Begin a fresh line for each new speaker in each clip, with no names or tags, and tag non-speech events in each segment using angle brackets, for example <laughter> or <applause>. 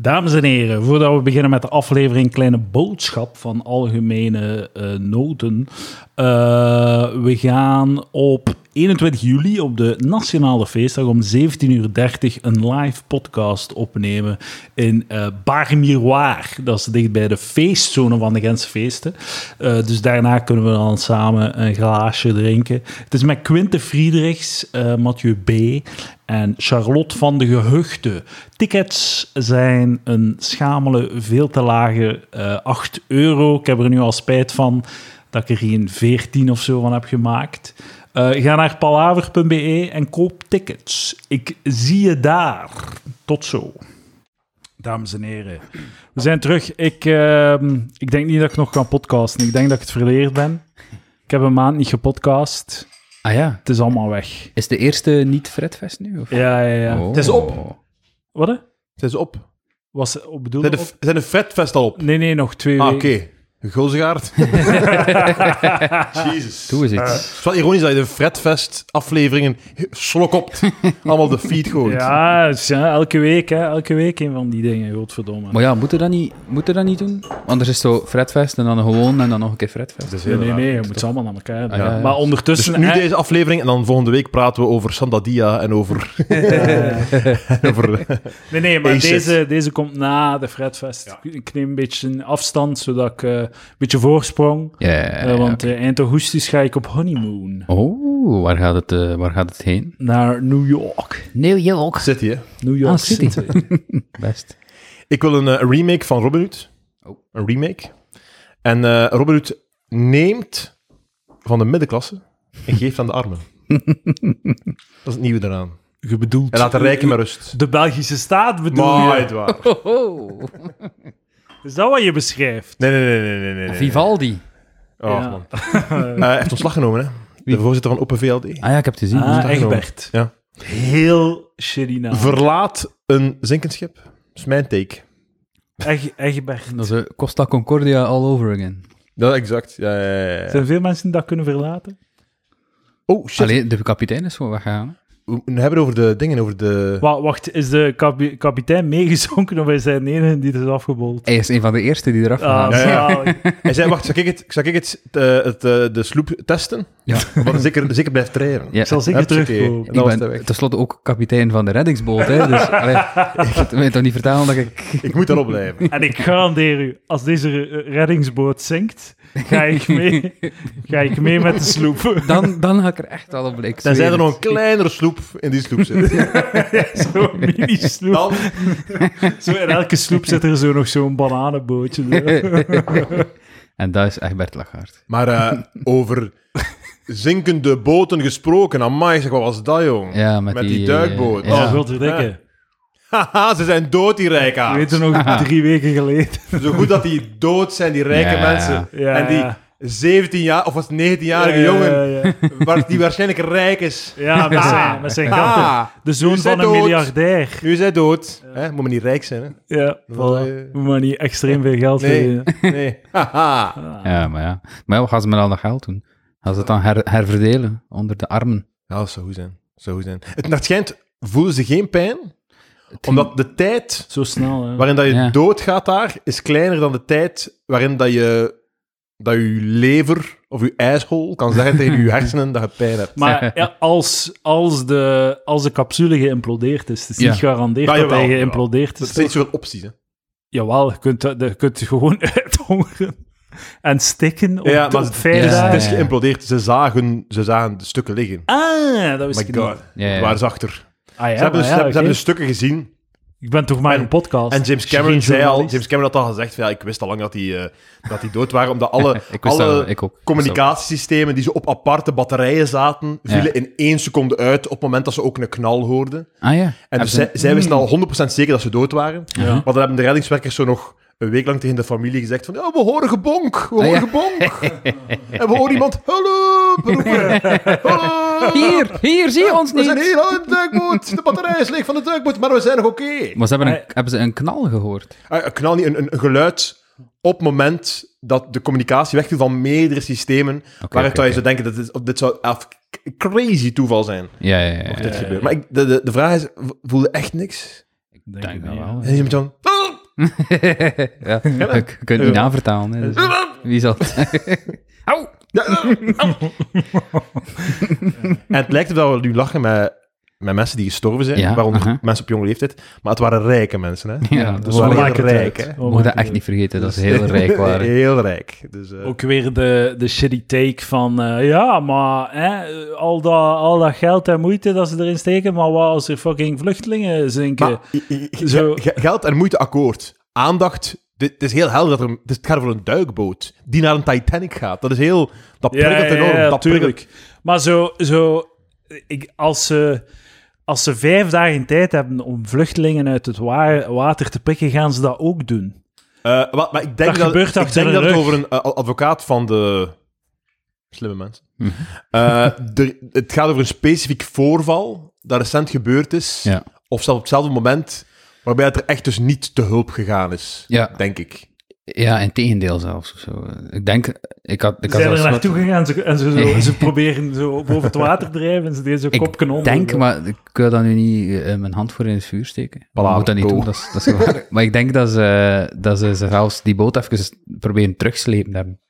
Dames en heren, voordat we beginnen met de aflevering Kleine Boodschap van Algemene eh, Noten. eh, we gaan op 21 juli op de Nationale Feestdag om 17.30 uur een live podcast opnemen in eh Bar Miroir. Dat is dicht bij de feestzone van de Gentse feesten. Eh, dus daarna kunnen we dan samen eh, een glaasje drinken. Het is met Quinte Friedrichs, eh, Mathieu B en Charlotte van de Gehuchten. Tickets zijn een schamele, veel te lage eh 8 euro. Ik heb er nu al spijt van dat ik er geen 14 of zo van heb gemaakt. Eh, ga naar palaver.be E en koop tickets. Ik zie je daar. Tot zo. Dames en heren, we zijn terug. Ik, ehm, ik denk niet dat ik nog kan podcasten. Ik denk dat ik het verleerd ben. Ik heb een maand niet gepodcast.
Ah ja.
Het is allemaal weg.
Is de eerste niet Fredfest nu? Of?
Ja, ja, ja.
Oh.
Het is op.
Wat? hè?
Het is op.
Was op bedoel
Zijn de,
op-
zijn de vetfest al op?
Nee, nee, nog twee
Ah, oké.
weken. <laughs>
Gulzegaard. Jezus.
Doe eens iets.
Het is wel ironisch dat je de Fredfest afleveringen slok op. Allemaal de feed gooit.
Ja, het is, ja, elke week, hè. Elke week een van die dingen, godverdomme.
Maar ja, moeten we dat niet, moeten we dat niet doen? Anders is het zo Fredfest en dan gewoon en dan nog een keer Fredfest.
Dat is
nee,
heel
nee,
raar.
nee, je moet ze allemaal aan elkaar doen.
Ah, ja, ja.
Maar
Dus
ondertussen...
nu
hè,
deze aflevering en dan volgende week praten we over Sandadia
<laughs>
en over... <laughs> en over eh,
Nee, nee, maar
Hey, shit.
deze, deze komt na de Fredfest. Ik- Ik neem een beetje een afstand, zodat ik eh, een beetje voorsprong.
Ja, ja, ja,
Eh,
ja,
want eh, eind augustus ga ik op honeymoon
oké. Oh, waar gaat, het, eh, waar gaat het heen?
naar New York.
New York.
City, hè.
New York
Ah,
City.
City. <laughs> Best.
Ik wil een, eh, een remake van Robin Hood.
Oh.
Een remake. En eh Robin Hood neemt van de middenklasse en geeft aan de
<laughs>
armen. dat is het nieuwe eraan.
Je bedoelt...
En laat de rijken met rust.
De Belgische staat bedoel
Maar,
je?
het waar.
Is dat wat je beschrijft?
Nee, nee, nee, nee, nee. nee, nee.
Vivaldi.
Oh,
Ja.
man. Eh, hij heeft ontslag genomen, hè? De voorzitter van Open VLD.
Ah ja, ik heb het gezien.
Ah,
genomen?
Egbert.
Ja.
Heel shitty naam.
Verlaat een zinkend schip. Dat is mijn take.
Eg- Egbert.
Dat is eh, Costa Concordia all over again.
Dat exact. Ja, ja, ja, ja.
Zijn veel mensen die dat kunnen verlaten?
Oh, shit.
Alleen de kapitein is gewoon weggegaan.
We we hebben het over de dingen, over de...
Wa- wacht, is de kapi- kapitein meegezonken of is hij de enige die er is afgebold?
Hij is een van de eerste die eraf
Ah,
gaat.
ja, ja.
zalig.
Hij zei, wacht, zal ik het, zal ik het, eh, het, eh, de sloep testen?
Ja.
<laughs> Want zeker, zeker blijft drijven.
Ja.
Ik zal zeker
Hupsakee.
terugkomen.
En dan was
ik
hij
ben
weg.
tenslotte ook kapitein van de reddingsboot. Hè?
<laughs>
Dus, allee, ik weet toch niet vertalen dat ik...
Ik moet daarop blijven.
En ik garandeer u, als deze eh, reddingsboot zinkt, ga ik mee, ga ik mee met de sloep. <laughs>
Dan, dan ga ik er echt al op blikken.
Dan zijn er nog een kleinere sloep in die
<laughs>
sloep zit.
Zo'n mini-sloep.
Dan,
Zo, in elke sloep zit er zo nog zo'n bananenbootje. zo.
En dat is Egbert Lagarde.
maar eh, over zinkende boten gesproken. Amai, zeg, wat was dat, jong?
Ja, met,
Met die
eh,
duikboot.
ja.
Oh, godverdikke.
<laughs> Haha, ze zijn dood, die rijkaards.
Weet je nog, drie weken geleden.
Zo goed dat die dood zijn, die rijke
Ja.
mensen.
Ja.
En die 17 jaar of was het 19-jarige jongen,
Ja, ja,
waar die waarschijnlijk rijk is.
ja. Ja, met zijn, met zijn katten.
Ah,
De zoon
Nu zijn
van een
dood.
miljardair.
nu is hij dood. Hè, moet maar niet rijk zijn, hè?
Ja, voilà.
wil je-
Moet maar niet extreem veel geld
Nee.
verdienen.
<laughs>
Nee. Haha.
Ja, maar ja. Maar ja, wat gaan ze met al dat geld doen? Gaan ze het dan her- herverdelen onder de armen?
Ja, dat Nou, zou goed zijn. Dat zou goed zijn. Het, naar het schijnt voelen ze geen pijn, omdat de tijd
Zo snel, hè.
waarin dat je
Hm. Ja.
doodgaat daar, is kleiner dan de tijd waarin dat je, dat je lever of je ijshol kan zeggen
<laughs>
tegen je hersenen dat je pijn hebt.
Maar ja, als, als, de, als de capsule geïmplodeerd is, het is
Ja.
niet gegarandeerd
Ja,
dat
jawel,
hij
jawel.
geïmplodeerd
Dat
is.
zijn niet
toch?
zoveel opties, hè?
Jawel, je kunt, je kunt gewoon <laughs> uithongeren en stikken op,
Ja,
op
maar het-
vijf
ja.
Het
dagen.
is geïmplodeerd. Ze zagen, ze zagen de stukken liggen.
Ah, dat wist
My
ik
god.
niet.
Ja, ja.
Het waren ze achter.
Ah, ja,
ze
maar
hebben, dus-
ja,
ze
oké.
hebben- ze hebben de stukken gezien.
Ik ben toch maar
En-
een podcast.
En James
Geen
Cameron zei al...
journalist.
James Cameron had al gezegd... van, Ja, ik wist al lang dat die, eh, dat die dood waren. Omdat alle,
<laughs> Ik wist
alle
dat, ik ook.
communicatiesystemen die ze op aparte batterijen zaten...
Ja.
vielen in één seconde uit op het moment dat ze ook een knal hoorden.
Ah ja.
En dus zij, zij
Hmm.
wisten al 100% zeker dat ze dood waren. Maar dan hebben de reddingswerkers zo nog... Een week lang tegen de familie gezegd van... Ja, we horen gebonk. We horen
Ah, ja. <laughs>
gebonk. en we horen iemand... Hulp! roepen. Hulp!
Hier, hier, zie je ons
We zijn
niet!
hier aan de duikboot. De batterij is leeg van de duikboot, maar we zijn nog oké.
Maar ze hebben, een, hebben ze een knal gehoord?
Eh, Een knal niet, een, een- een geluid op het moment dat de communicatie wegviel van meerdere systemen, waaruit
oké,
je zou denken dat dit, dit zou af- k- crazy toeval zijn.
Ja, ja, ja.
dit gebeurt. Maar ik, de, de, de vraag is, v- voelde echt niks?
Ik nou denk
Denk
het
dat
niet,
wel.
hè.
En je moet dan... "Hulp!"
<laughs> ja, je je kunt niet navertalen. Hè, dus, wie
<laughs>
zal het Au!
En het lijkt erop dat we nu lachen met, met mensen die gestorven zijn,
Ja,
waaronder
aha.
mensen op jonge leeftijd. Maar het waren rijke mensen, hè?
Ja,
dus
dat
wel
Zo
heel
maakt het
rijk,
uit.
hè.
Zo
Moet
maakt
je dat
het
echt niet vergeten, dat ze heel
<laughs>
rijk waren.
heel rijk. Dus, eh,
Ook weer de, de shitty take van eh, ja, maar hè, al, dat, al dat geld en moeite dat ze erin steken, maar wat als er fucking vluchtelingen zinken?
maar, i- i- i-
Zo.
ge- geld en moeite akkoord. Aandacht. Dit, het is heel helder dat er, een- het gaat over een duikboot die naar een Titanic gaat. Dat is heel... Dat prikkelt enorm. dat prikkelt.
tuurlijk. Maar zo, zo ik, als, ze, als ze vijf dagen tijd hebben om vluchtelingen uit het wa- water te pikken, gaan ze dat ook doen.
Eh, wat, maar ik denk
Dat
dat,
gebeurt
ik
achter
denk
de
dat het
rug.
over een eh, advocaat van de slimme mensen.
Mhm.
Eh, er- het gaat over een specifiek voorval dat recent gebeurd is,
Ja.
of zelfs op hetzelfde moment, waarbij het er echt dus niet te hulp gegaan is,
Ja.
denk ik.
Ja, in tegendeel zelfs. of Zo. Ik denk, ik had, ik
Ze zijn
had
er
zelfs
naartoe gegaan ze- en ze,
<laughs>
zo, ze proberen zo boven het water te drijven en ze deden zo
Ik
kopken onder.
denk, maar ik wil daar nu niet eh, mijn hand voor in het vuur steken.
Voilà,
ik moet dat niet
go.
doen, dat is, dat is gevaarlijk.
<laughs>
maar ik denk dat ze, dat ze zelfs die boot even proberen terugslepen hebben.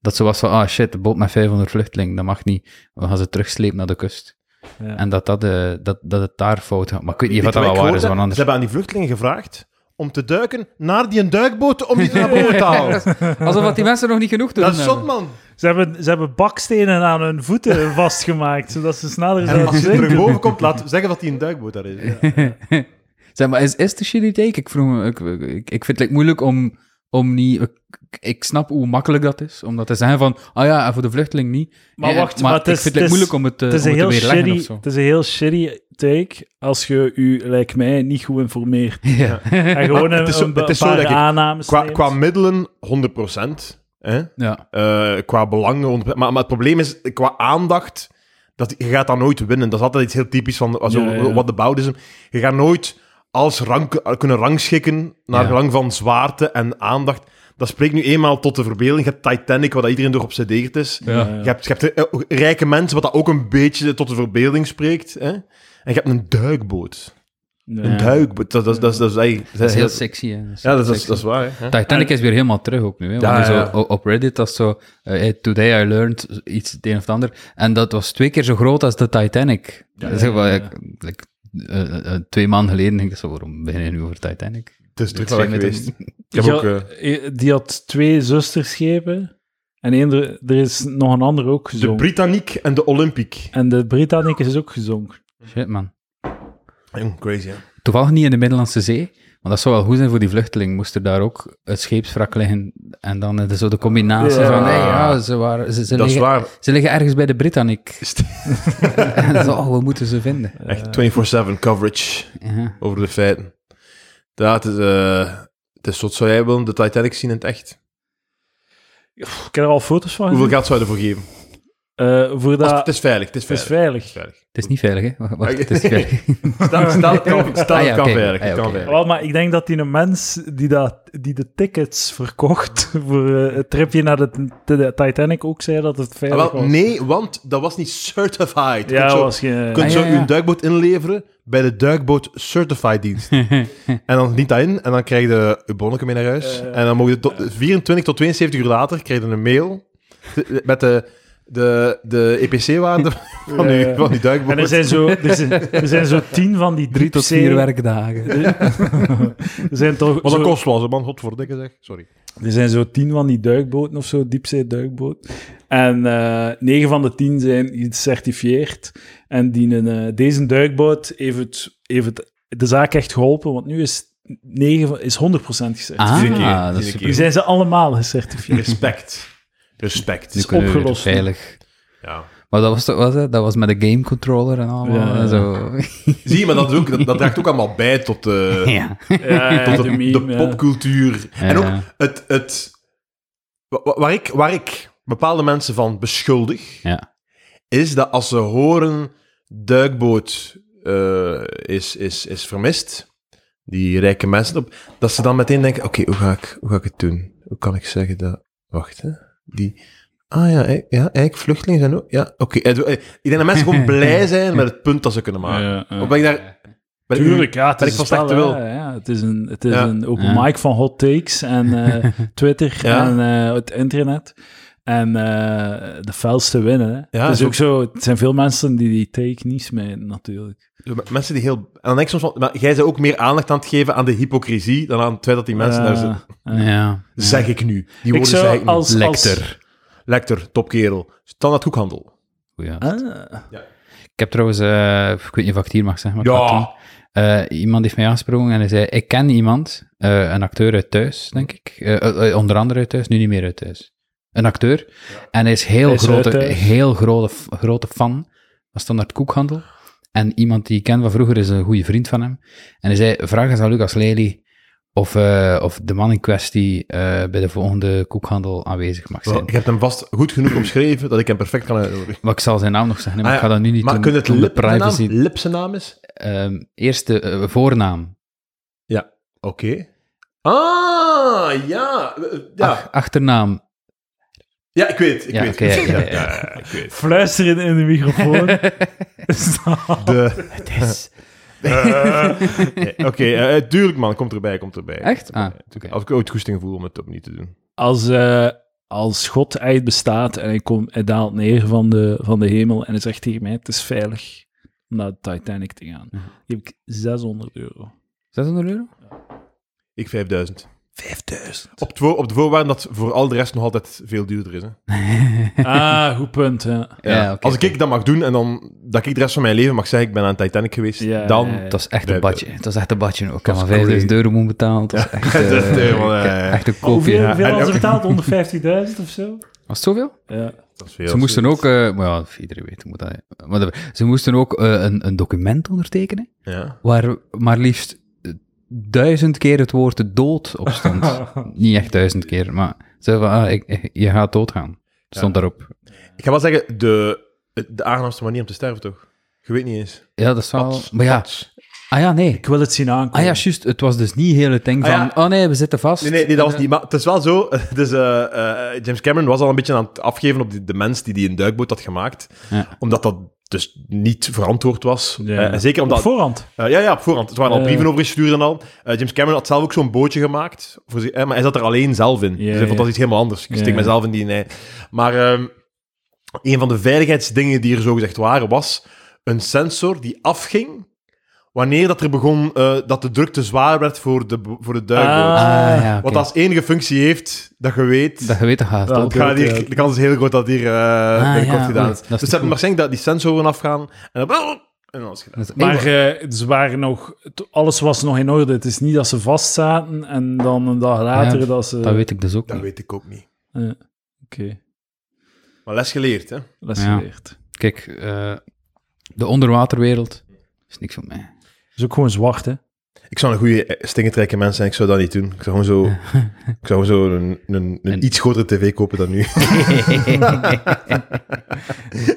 Dat ze was van, ah shit, de boot met 500 vluchtelingen, dat mag niet. We gaan ze terugslepen naar de kust.
Ja.
En dat, dat, eh, dat, dat het daar fout gaat. Maar ik weet niet of dat wel
ik
waar
gehoord
is,
heb,
want anders...
Ze hebben aan die vluchtelingen gevraagd om te duiken naar die duikboot om die naar boven
<laughs>
te halen.
Alsof dat die mensen nog niet genoeg doen eh.
Dat is zot,
hebben.
man.
Ze hebben, ze hebben bakstenen aan hun voeten vastgemaakt, zodat ze sneller
En als
zouden
je terug
zinken.
boven komt, laat zeggen dat die een duikboot daar is. Ja.
Zeg maar, is, is de shitty take? Ik, vroeg me, ik, ik, ik vind het like, moeilijk om, om niet... Ik, ik snap hoe makkelijk dat is, om dat te zeggen van... Ah ja, en voor de vluchteling niet.
Maar
Ja,
wacht, maar het
ik
is- het
vind het
is-
moeilijk om het, eh,
Het is,
om
een
het te
heel
weerleggen of
shitty,
zo.
het is een heel shitty take als je u, lijkt mij, niet goed informeert.
Ja.
En gewoon
Maar
een,
<laughs> het is zo-
een,
het is zo,
paar
denk ik.
aannames
Qua,
neemt.
qua middelen 100%. Hè?
ja.
Eh, qua belangen. onder- Maar, maar het probleem is, eh, qua aandacht, dat, je gaat dat nooit winnen. Dat is altijd iets heel typisch van also,
Ja, ja.
what about is. Je gaat nooit als rank, eh, kunnen rangschikken naar
Ja.
gelang van zwaarte en aandacht. Dat spreekt nu eenmaal tot de verbeelding. Je hebt Titanic, waar dat iedereen door obsedeerd is.
Ja.
Je hebt, je hebt eh, rijke mensen, wat dat ook een beetje tot de verbeelding spreekt. Hè? En je hebt een duikboot.
Ja.
Een duikboot. Dat, dat, dat, dat, is eigenlijk...
Dat is heel sexy. Hè. Dat is
Ja,
heel
dat, is-
sexy.
dat is waar. Hè?
Titanic is weer helemaal terug ook nu. Hè. Want
Ja,
nu zo
ja.
o- op Reddit dat is zo... eh, hey, today I learned iets, het een of het ander. En dat was twee keer zo groot als de Titanic. Dat is
ja,
echt wel,
ja.
ik- ik- eh, eh, twee maanden geleden denk ik zo, waarom beginnen we nu over Titanic?
Het is druk
Twee
weg
meter-
geweest. Ik heb ook... eh,
eh, Die had twee zusterschepen. En één, er- er is nog een ander ook
de
gezonken.
Britanniek en de Olympiek.
en de Britannic is ook gezonken.
Shit, man.
Jong, crazy, hè?
Toevallig niet in de Middellandse Zee, maar dat zou wel goed zijn voor die vluchteling. Moest er daar ook het scheepswrak liggen en dan eh, de, zo de combinatie
Ja.
van, hey, ja, ze, waren, ze, ze,
Dat is
liggen,
waar.
ze liggen ergens bij de Britannic. <laughs> En zo, oh, we moeten ze vinden.
Echt 24-7 coverage
Ja.
over de feiten. Ja, het is, eh, het is wat zou jij willen, de Titanic zien in het echt?
Pff, Ik heb er al foto's van
Hoeveel
gezien.
geld zou je ervoor geven?
Eh, voor
Als-
dat,
het is veilig, het is
het is
veilig.
veilig.
Het is
Het is niet veilig, hè? Wacht, wacht, het is niet veilig.
veilig. Stel, stel <laughs> het kan,
Ah,
stel het
ja,
kan
oké.
veilig.
Ah, ja,
het kan
oké.
veilig.
Wel, maar ik denk dat die een mens die, dat, die de tickets verkocht <laughs> voor eh, het tripje naar de, de- de Titanic ook zei dat het
Ah,
veilig
wel,
was.
nee, want dat was niet certified. Je
Ja,
kunt zo,
was geen...
je kunt
Ah,
zo
ja, ja.
uw duikboot inleveren bij de duikboot certified dienst.
<laughs>
en dan dient dat in en dan krijg je uw bonnetje mee naar huis.
Eh.
en dan mogen je tot 24 tot 72 uur later krijg je een mail met de, de, de EPC-waarde
<laughs>
van,
Ja,
uw-
ja.
van die duikboot.
En er zijn, zo, er, zijn, er zijn zo tien van die
Drie tot <laughs> vier
diepzee-
werkdagen.
<laughs> er zijn toch
Wat een
zo,
kost was, hè, man. Godverdikke zeg. Sorry.
er zijn zo tien van die duikboten of zo, diepzeeduikboot. En eh negen van de tien zijn gecertificeerd. En die, een, eh, deze duikboot heeft, het, heeft het, de zaak echt geholpen, want nu is, 9, van- is 100% gecertificeerd.
Ah,
Iedere keer,
dat
iedere
is
keer.
super.
Nu zijn ze allemaal gecertificeerd.
Respect. Respect.
Nu kunnen we weer
opgelost, hè?
Veilig.
Ja.
Maar dat was, toch- was het? dat was met de game controller en allemaal.
Ja, ja.
en zo.
Zie je, maar dat, is ook, dat, dat draagt ook allemaal bij tot, eh,
<laughs> ja.
Ja,
tot de, de
meme, ja.
popcultuur. En
Ja.
ook het... het wa- wa- waar, ik, waar ik bepaalde mensen van beschuldig,
Ja.
is dat als ze horen duikboot eh, is, is, is vermist, die rijke mensen, op, dat ze dan meteen denken, oké, hoe, ga ik, hoe ga ik het doen? Hoe kan ik zeggen dat... Wacht, hè? Die... Ah ja, eh, ja eigenlijk vluchtelingen zijn
<laughs>
ook... Ja, oké. Eh, Ik denk dat mensen gewoon blij zijn met het punt dat ze kunnen maken.
Ja, ja.
Of ben ik daar... Ben ik-
Tuurlijk, ja. Het
ben
is
ik
een
van
spel,
slechte wil.
hè, ja, het is een, het is
Ja.
een open
Ja.
mic van hot takes en eh, Twitter
Ja.
en eh, het internet. En eh, de felste winnen. Hè.
Ja,
het is
zo-
ook zo, het zijn veel mensen die die take niet smijten, natuurlijk.
Zo, maar Mensen die heel... En dan denk ik soms van... Maar jij zou ook meer aandacht aan het geven aan de hypocrisie dan aan het feit dat die mensen
Eh,
daar zitten.
eh.
Ah, Ja.
Zeg ik nu. Die
Ik
woorden zeg ik
zou
nu.
als... als
Lecter.
Lector, topkerel. Standaard hoekhandel.
Goeie.
Ah.
Ik heb trouwens, eh, ik weet niet of ik het hier mag zeggen, maar ik
Ja.
ga het doen. Eh, iemand heeft mij aangesproken en hij zei, ik ken iemand, eh, een acteur uit thuis, denk ik. Eh, eh, eh, onder andere uit thuis, nu niet meer uit thuis. Een acteur. En hij is heel
Hij is uit
grote,
thuis.
heel grote, f- grote fan van Standaard Koekhandel. En iemand die ik ken van vroeger is een goede vriend van hem. En hij zei, vraag eens aan Lucas Lely of, eh, of de man in kwestie eh, bij de volgende koekhandel aanwezig mag zijn.
Wel, Je hebt hem vast goed genoeg omschreven dat ik hem perfect kan uitnodigen.
Maar ik zal zijn naam nog zeggen, maar
Ah
ik ga dat nu niet
Maar
doen.
kun je het
om de
lip, zijn naam,
privacy.
lip zijn naam is?
Ehm, eerste eh, voornaam.
Oké. Ah, ja. Eh, Ja.
Ach- achternaam.
<laughs> ja, ik weet. Ik
Ja,
weet.
oké, ja, ja, ja.
ik weet.
Fluisteren in de microfoon.
De,
Oh, Het is...
<laughs> eh, nee, Oké, eh, eh, tuurlijk man, komt erbij, komt erbij.
Echt? Ah, oké.
eh, Als ik ooit goesting voel om het opnieuw te doen.
als, eh, als God uit bestaat en hij, komt, hij daalt neer van de, van de hemel en hij zegt tegen mij, het is veilig om naar de Titanic te gaan. Die heb ik 600 euro.
600 euro?
Ik 5000.
5000.
Op, het voor- op de voorwaarde dat voor al de rest nog altijd veel duurder is. Hè?
Ah, goed punt. <laughs> Ja.
Ja, oké.
Als ik, dat mag doen en dan dat ik de rest van mijn leven mag zeggen, ik ben aan Titanic geweest,
Ja,
dan...
ja, ja.
Het was echt een
Nee,
badje. Het was echt een badje ook. Ik heb
was
maar 5000
crazy.
euro moeten betalen. Het was echt, eh,
<laughs> dat is helemaal,
ik heb
eh,
echt een koopje.
hoeveel
ja.
hoeveel
En
hadden ze
ook-
<laughs> betaald? 150.000 of zo?
Was het zoveel?
Ja.
Dat is veel.
ze moesten ook... eh, maar ja, iedereen weet hoe dat... Maar dat- ze moesten ook eh, een, een document ondertekenen
Ja.
waar maar liefst eh, duizend keer het woord dood op stond.
<laughs>
Niet echt duizend keer, maar ze van, ah, ik- ik- je gaat doodgaan. Stond daarop.
Ik ga wel zeggen, de, de aangenaamste manier om te sterven, toch? Je weet niet eens.
Ja, dat is wel...
Pats,
maar ja,
pats.
ah ja, nee.
Ik wil het zien aankomen.
Ah ja, juist. Het was dus niet heel het ding
Ah
van...
ja.
Oh nee, we zitten vast.
Nee, nee, nee, dat was niet... Maar het is wel zo... <laughs> Dus, eh, eh, James Cameron was al een beetje aan het afgeven op die- de mens die die een duikboot had gemaakt.
Ja.
Omdat dat dus niet verantwoord was. Eh, en zeker
Op
omdat...
voorhand.
Eh, ja, ja, op voorhand. Er waren al
Eh.
brieven over gestuurd en al. Eh, James Cameron had zelf ook zo'n bootje gemaakt. Voor zich, eh, maar hij zat er alleen zelf in. dus hij
ja.
vond dat iets helemaal anders. Ik
Ja,
steek
ja.
mezelf in die nee. Maar ehm, een van de veiligheidsdingen die er zo gezegd waren, was een sensor die afging wanneer dat er begon eh, dat de druk te zwaar werd voor de, bo- voor de duikboot.
Ah,
Ah ja, oké.
Wat als enige functie heeft, dat je weet...
Dat je weet, dat gaat
Dat
dood.
het gaat hier,
ja.
de kans is heel groot dat hier eh binnenkort
ja,
gedaan
oei,
is.
dat is
Dus ze
niet
hebben
goed.
waarschijnlijk dat die sensoren afgaan en dan... En dan is het gedaan.
Dat is-
Maar
Hey,
eh, ze waren nog, t- alles was nog in orde. Het is niet dat ze vastzaten en dan een dag later
Ja,
dat ze...
dat weet ik dus ook
Dat
niet.
weet ik ook niet.
Oké,
Maar les geleerd, hè?
les
Ja.
geleerd.
Kijk, eh, de onderwaterwereld is niks van mij.
Het is ook gewoon zwart, <laughs> hè?
Ik zou een goede stingetrekker mens zijn, ik zou dat niet doen. Ik zou gewoon zo, ik zou gewoon zo een, een, een
En-
iets grotere tv kopen dan
<laughs>
nu.
<laughs>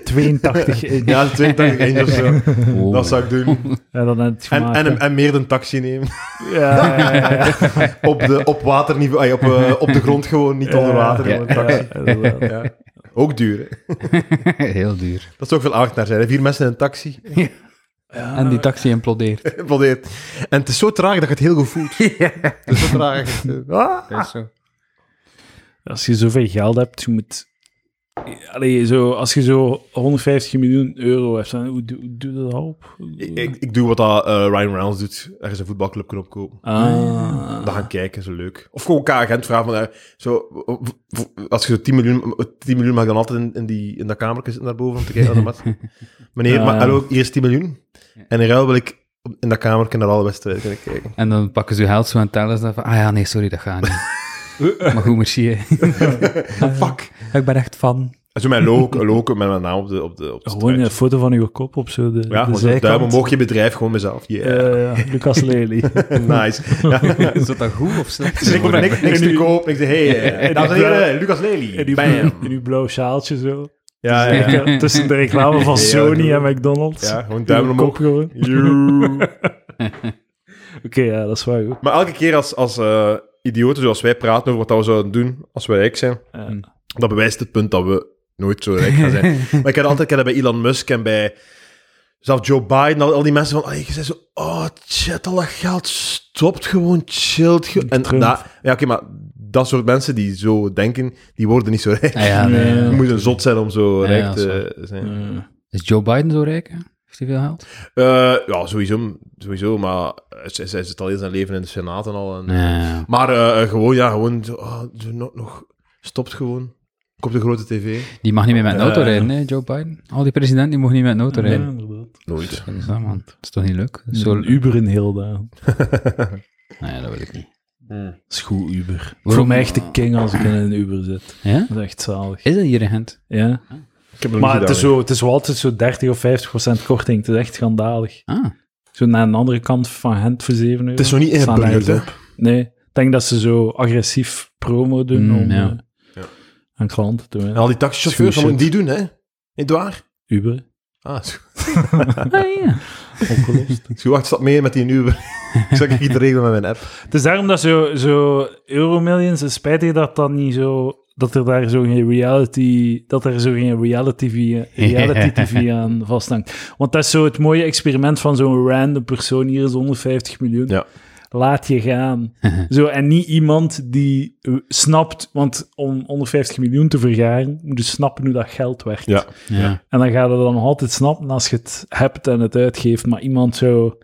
82 inch.
ja, 22 inch of zo.
Oh,
Dat zou ik doen.
Ja, dan heb je het
En,
gemaakt.
en,
hè.
en meer een taxi nemen.
Ja,
<laughs>
ja, ja, ja.
Op, de, op waterniveau, ay, op, eh, op de grond gewoon, niet onder water.
Ja,
Gewoon een taxi.
ja, inderdaad.
Ja. Ook duur, hè?
Heel duur.
Dat zou ook veel aandacht naar zijn. hè. Vier mensen in een taxi. <laughs>
En die taxi implodeert.
Implodeert. En het is zo traag dat je het heel goed
<laughs>
voelt. Het is zo traag.
<laughs>
Ah.
Dat is zo.
Als je zoveel geld hebt, je moet... Allee, zo, als je zo 150 miljoen euro hebt, dan, hoe, doe- hoe doe je dat op?
Ik, ik, ik doe wat dat, eh, Ryan Reynolds doet. Er is een voetbalclub kunnen opkopen.
Ah.
Dan gaan kijken, zo leuk. Of gewoon elkaar agent vragen. Van, eh, zo, w- w- als je zo 10 miljoen, 10 miljoen mag ik dan altijd in, in, die, in dat kamertje zitten daarboven om te kijken
<laughs>
naar de match. Meneer,
Ah.
maar, hallo, hier is 10 miljoen. En in ruil wil ik op- in dat kamertje naar alle wedstrijden kunnen kijken.
En dan pakken ze je geld zo en tellen ze dan van... Ah ja, nee, sorry, dat gaat niet. maar goed, merci. hè.
Fuck.
<laughs> ik ben echt fan.
En zo mijn logo, logo met mijn naam op de, op de, op de
Gewoon een
straat.
foto van uw kop op zo de,
Ja,
de
gewoon zo,
zijkant.
duim omhoog je bedrijf, gewoon mezelf. Yeah,
Eh, ja, <laughs> Lucas Lely.
<laughs>
<laughs>
nice. Ja.
<laughs> Is dat dan goed of slecht?
Dus ik hoef niks, niks te koop. Ik zeg,
<laughs>
hey, eh, dames en heren, Lucas
In uw,
Lely.
blauw-
Bam.
in uw blauw sjaaltje zo.
Ja, ja,
<laughs>
ja.
Tussen de reclame van
<laughs> Ja,
Sony
ja.
en McDonald's.
ja, gewoon duim
Uw
omhoog.
kop gewoon. Oké,
You.
ja, dat is wel goed.
Maar elke keer als, als eh, idioten zoals wij praten over wat dat we zouden doen als we rijk zijn,
Ja.
dat
<laughs>
bewijst het punt dat we nooit zo rijk gaan zijn. maar ik heb altijd ik heb dat bij Elon Musk en bij Zelfs Joe Biden, al, al die mensen van, "Allee, je zei zo, oh shit, al dat geld stopt gewoon, chillt. ge-" En
Trump.
da- ja, oké, maar dat soort mensen die zo denken, die worden niet zo rijk.
Ah,
<laughs>
ja, nee.
Nee.
Je moet een zot zijn om zo
Ja,
rijk
ja,
te zijn.
Eh,
Is Joe Biden zo rijk? hè? Heeft hij veel geld?
Eh, ja, sowieso, sowieso maar hij hij zit al heel zijn leven in de Senaat en al. En,
Nee.
Maar eh, eh, gewoon, ja, gewoon, zo, ah, zo nog, nog, stopt gewoon. Komt de grote tv.
Die mag niet meer met een auto
Eh.
rijden, hè, Joe Biden. Al die presidenten die mogen niet met een auto
ja,
rijden.
inderdaad.
Nooit.
Dat is, dat, man. dat is toch niet leuk? Dat is Zo...
Hm.
Zo'n Uber in heel daar.
Nee, dat wil ik niet.
Dat is goed, Uber. Voor
Waarom-
mij echt de king als ik in een Uber zit.
Ja?
Dat is echt zalig.
Is dat hier in Gent?
Ja.
Ik heb nog
Maar
niet
het is,
gedaan,
zo, het is wel altijd zo 30 of 50 procent korting. Het is echt schandalig.
Ah,
Zo naar een andere kant van Gent voor 7 euro.
Het is nog niet
Staan
ingeburgerd, hè?
nergens op. Nee. Ik denk dat ze zo agressief promo doen
Mm,
om
ja.
eh,
Ja.
aan klanten te
En
winnen.
al die taxichauffeurs,
Is
wat
goed
moeten die doen, hè? Niet waar?
Uber,
Ah, is goed.
ah ja.
opgelost.
Is goed, wacht, stap mee met die <laughs> Uber. ik zal ik te regelen met mijn app.
het is daarom dat zo, zo Euromillions, het spijt je dat dat niet zo... Dat er daar zo geen reality... Dat er zo geen reality, via-
<laughs>
reality TV aan vasthangt. Want dat is zo het mooie experiment van zo'n random persoon. Hier is 150 miljoen.
Ja.
Laat je
<laughs>
gaan. Zo, en niet iemand die eh, snapt, want om 150 miljoen te vergaren, moet je snappen hoe dat geld werkt.
Ja.
ja.
En dan gaat het dan nog altijd snappen als je het hebt en het uitgeeft. Maar iemand zo,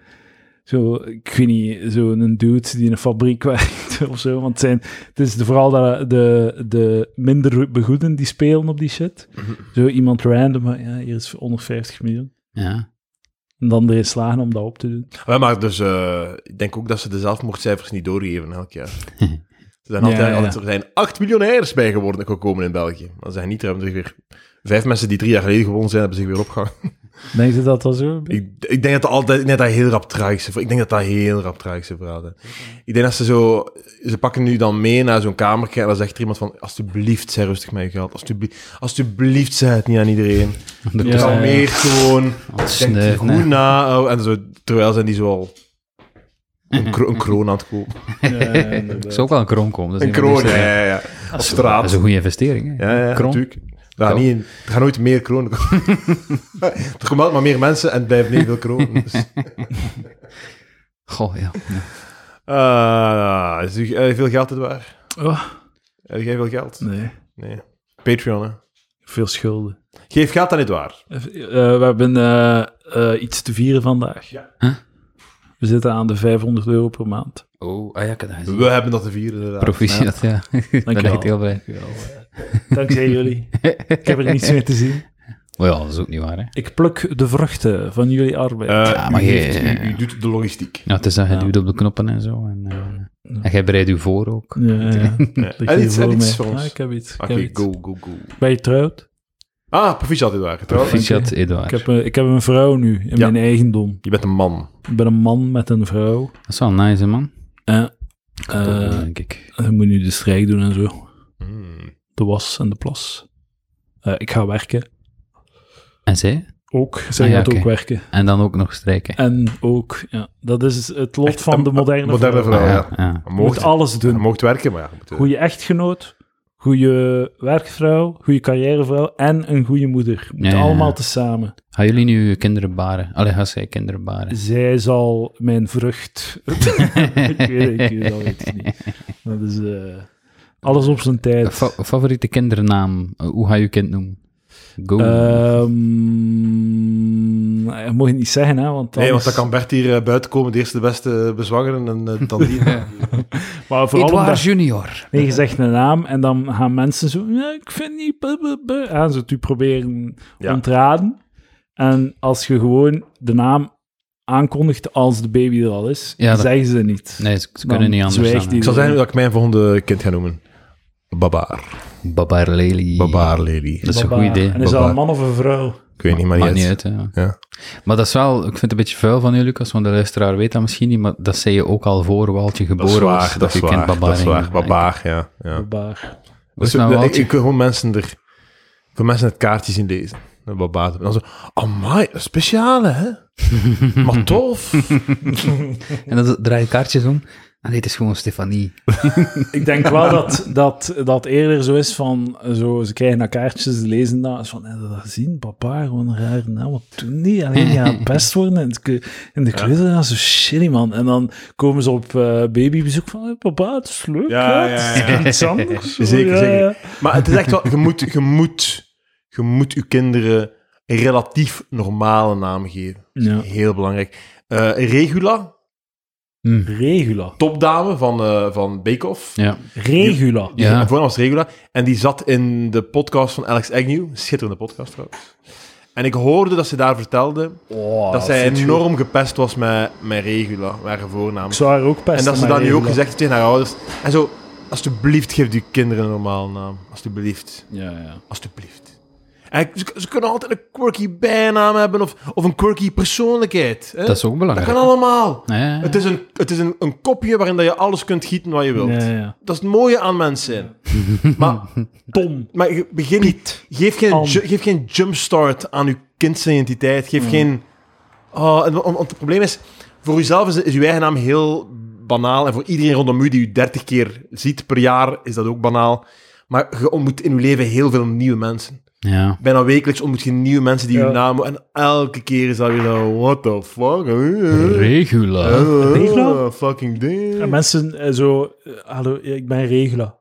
zo ik weet niet, zo'n dude die in een fabriek <laughs> werkt of zo. Want het, zijn, het is de- vooral de, de, de minder begoeden die spelen op die shit. Zo iemand random, maar ja, hier is 150 miljoen.
ja.
En dan erin slagen om dat op te doen.
Ja, maar dus, eh, ik denk ook dat ze de zelfmoordcijfers niet doorgeven elk <laughs> jaar. Er zijn, altijd,
Ja, ja.
altijd- er zijn acht miljonairs bij geworden gekomen in België. Maar er zijn niet, er hebben zich weer... Vijf mensen die drie jaar geleden gewonnen zijn, hebben zich weer opgehangen.
Denk je dat dat zo? is?
Ik, ik denk dat dat altijd, ik denk dat dat heel rap tragische, ik denk dat dat heel rap tragische verhaal is. Ik denk dat ze zo, ze pakken nu dan mee naar zo'n kamertje en dan zegt er iemand van, alsjeblieft, zij rustig met je geld, alsjeblieft, alsjeblieft, zei het niet aan iedereen.
<laughs> De
Ja.
Kalmeer gewoon, denk er
sneu-
goed
nee.
na, oh, en zo, terwijl zijn die zo al een, kro- een kroon aan
<laughs>
het kopen.
Ik zou ook wel een kroon komen. Dat is
Een
niet wat
kroon,
ik
ja,
zeg.
ja, ja. Op
Dat is
straat.
een goede investering. Hè?
Ja, ja,
kroon.
natuurlijk. Er gaan,
Kroon.
niet, er gaan nooit meer kronen komen. <laughs> er komen altijd maar meer mensen en het blijven niet veel kronen. Dus.
Goh, ja. ja.
Ah, is u, eh, veel geld het waar?
Oh,
Heb jij veel geld?
nee,
Nee. Patreon, hè?
veel schulden.
Geef geld aan het waar.
Eh, eh, we hebben eh, eh, iets te vieren vandaag.
Ja.
Huh?
We zitten aan de 500 euro per maand.
Oh, ah, ja, ik had dat gezien.
We hebben dat te vieren, inderdaad.
Proficiat, ja. <laughs> Ik ben
Dankjewel.
echt heel blij.
<laughs>
Dankzij jullie. Ik heb er niets meer te zien.
Maar Oh ja, dat is ook niet waar, hè.
Ik pluk de vruchten van jullie arbeid.
Eh,
Ja, maar
u,
je-
heeft- u- u doet de
<laughs>
logistiek.
Ja, het is dat je
Ja.
duwt op de knoppen en zo. En, eh, en jij bereidt u voor ook.
ja,
<laughs>
ja.
Ja.
Ligt
Hij
hier
iets- hij
voor
iets
mij.
voor ons.
Ah, ik heb iets. Ik
Oké,
heb iets.
go, go, go.
Ben je trouwd?
Ah, proficiat dit waar. Trouwens,
Proficiat,
Ik
Eduard.
heb, een, ik heb een vrouw nu in
Ja.
mijn eigendom.
je bent een man.
Ik ben een man met een vrouw.
Dat is wel een nice, man.
En
Dat
eh,
denk ik.
je moet nu de strijk doen en zo.
Hmm.
De was en de plas. Eh, ik ga werken.
En zij?
Ook. Zij
Ah, ja,
gaat
oké.
ook werken.
En dan ook nog strijken.
En ook, ja, dat is het lot
Echt
van
een-
de moderne,
moderne
vrouw.
vrouw.
Ah,
ja.
ja.
Je
Je moet
mocht,
alles
je
doen.
mocht werken, maar ja. je moet, eh,
Goede echtgenoot, goede werkvrouw, goede carrièrevrouw en een goede moeder. Moet
Ja, ja, ja.
allemaal tezamen.
Gaan jullie nu je kinderen baren? Allee, gaan zij kinderen baren?
Zij zal mijn vrucht... <laughs> ik weet het, ik weet het, dat weet ik niet. Dat is eh, alles op zijn tijd.
Fa- favoriete kindernaam? Eh, Hoe ga je je kind noemen? Go.
Eh,
Ehm, dat mag je niet zeggen, hè, want,
Nee, want
anders-
dan kan Bert hier eh, buiten komen, de eerste de beste bezwangeren en eh, dan
<laughs>
die.
Maar vooral omdat-
Edouard Junior.
Nee, je zegt een naam en dan gaan mensen zo... "Ja, ik vind niet... buh, buh, buh." Aan ze het u proberen
Ja.
ontraden. En als je gewoon de naam aankondigt als de baby er al is,
Ja, dat-
zeggen ze niet.
Nee, ze, ze
Dan
kunnen niet anders
zwijgt
dan.
die-
Ik zal zeggen dat ik mijn volgende kind ga noemen. Babaar.
hè. Babar eh, Lely.
Babaar, lady.
Dat is een
Baba.
goed idee.
En is dat
Baba.
een man of een vrouw?
Ik weet niet, maar
Maakt
niet uit.
hè.
Ja.
Maar dat is wel, ik vind het een beetje vuil van u, Lucas, want de luisteraar weet dat misschien niet, maar dat zei je ook al voor Waltje
Dat
geboren
is
was,
waar, dat is
je kind
waar.
Babar
Dat is waar.
ging. Ja,
Babaar, ja. ja.
Babaar.
Hoe is
Dus,
het nou,
eh, ik,
Waltje?
ik wil gewoon mensen er... Ik wil mensen het kaartje zien lezen. Een babaat. En dan zo... Amai, een
<laughs>
speciale, hè? maar tof.
En dan draai je kaartjes om En dit is gewoon Stefanie.
Ik
<laughs>
denk wel dat, dat dat eerder zo is van, zo, ze krijgen naar kaartjes, ze lezen dat, is van, heb je dat gezien? Papa, gewoon een rare naam, wat doen die?
<laughs>
Alleen ja, best worden in, het kle- in de kleuter, dat is zo shitty, man. En dan komen ze op eh, babybezoek van, hey, papa, het is leuk,
Ja,
ja,
ja,
het is
ja.
iets anders. Zo,
<laughs> Zeker,
ja,
zeker.
ja.
Maar het is echt wel, je moet, je moet, je moet je kinderen een relatief normale naam geven.
Ja.
Heel belangrijk. Eh, Regula,
Regula.
topdame van, eh, van Bake Off.
Ja.
Regula.
Die
Ja.
ja. voornaam was Regula. En die zat in de podcast van Alex Agnew. Schitterende podcast trouwens. En ik hoorde dat ze daar vertelde
Oh,
dat zij
vind ik goed.
enorm gepest was met, met Regula, met haar voornaam.
Ik zou haar ook pesten.
En dat ze
met
dan nu ook
Regula.
gezegd heeft tegen haar ouders. En zo, alsjeblieft, geef die kinderen een normale naam. Alsjeblieft.
Ja, ja.
Alsjeblieft. En ze, ze kunnen altijd een quirky bijnaam hebben of, of een quirky persoonlijkheid. Hè?
Dat is ook
Dat
belangrijk.
kan allemaal.
Ja, ja, ja.
Het is, een, het is een, een kopje waarin dat je alles kunt gieten wat je wilt.
Ja, ja.
Dat is het mooie aan mensen. maar
Tom.
maar je- begin niet. Geef geen,
An.
ju- geef geen jumpstart aan je kindsidentiteit. Geef geen. Oh, en- want want het probleem is, voor jezelf is, is je eigen naam heel banaal. En voor iedereen rondom u die u 30 keer ziet per jaar, is dat ook banaal. Maar je ontmoet in je leven heel veel nieuwe mensen.
Ja.
Bijna wekelijks ontmoet je nieuwe mensen die je
Ja.
naam. En elke keer is dat weer zo. What the fuck? Eh,
Regula.
eh,
Regla?
fucking ding.
En mensen eh, zo, eh, hallo, ik ben Regula.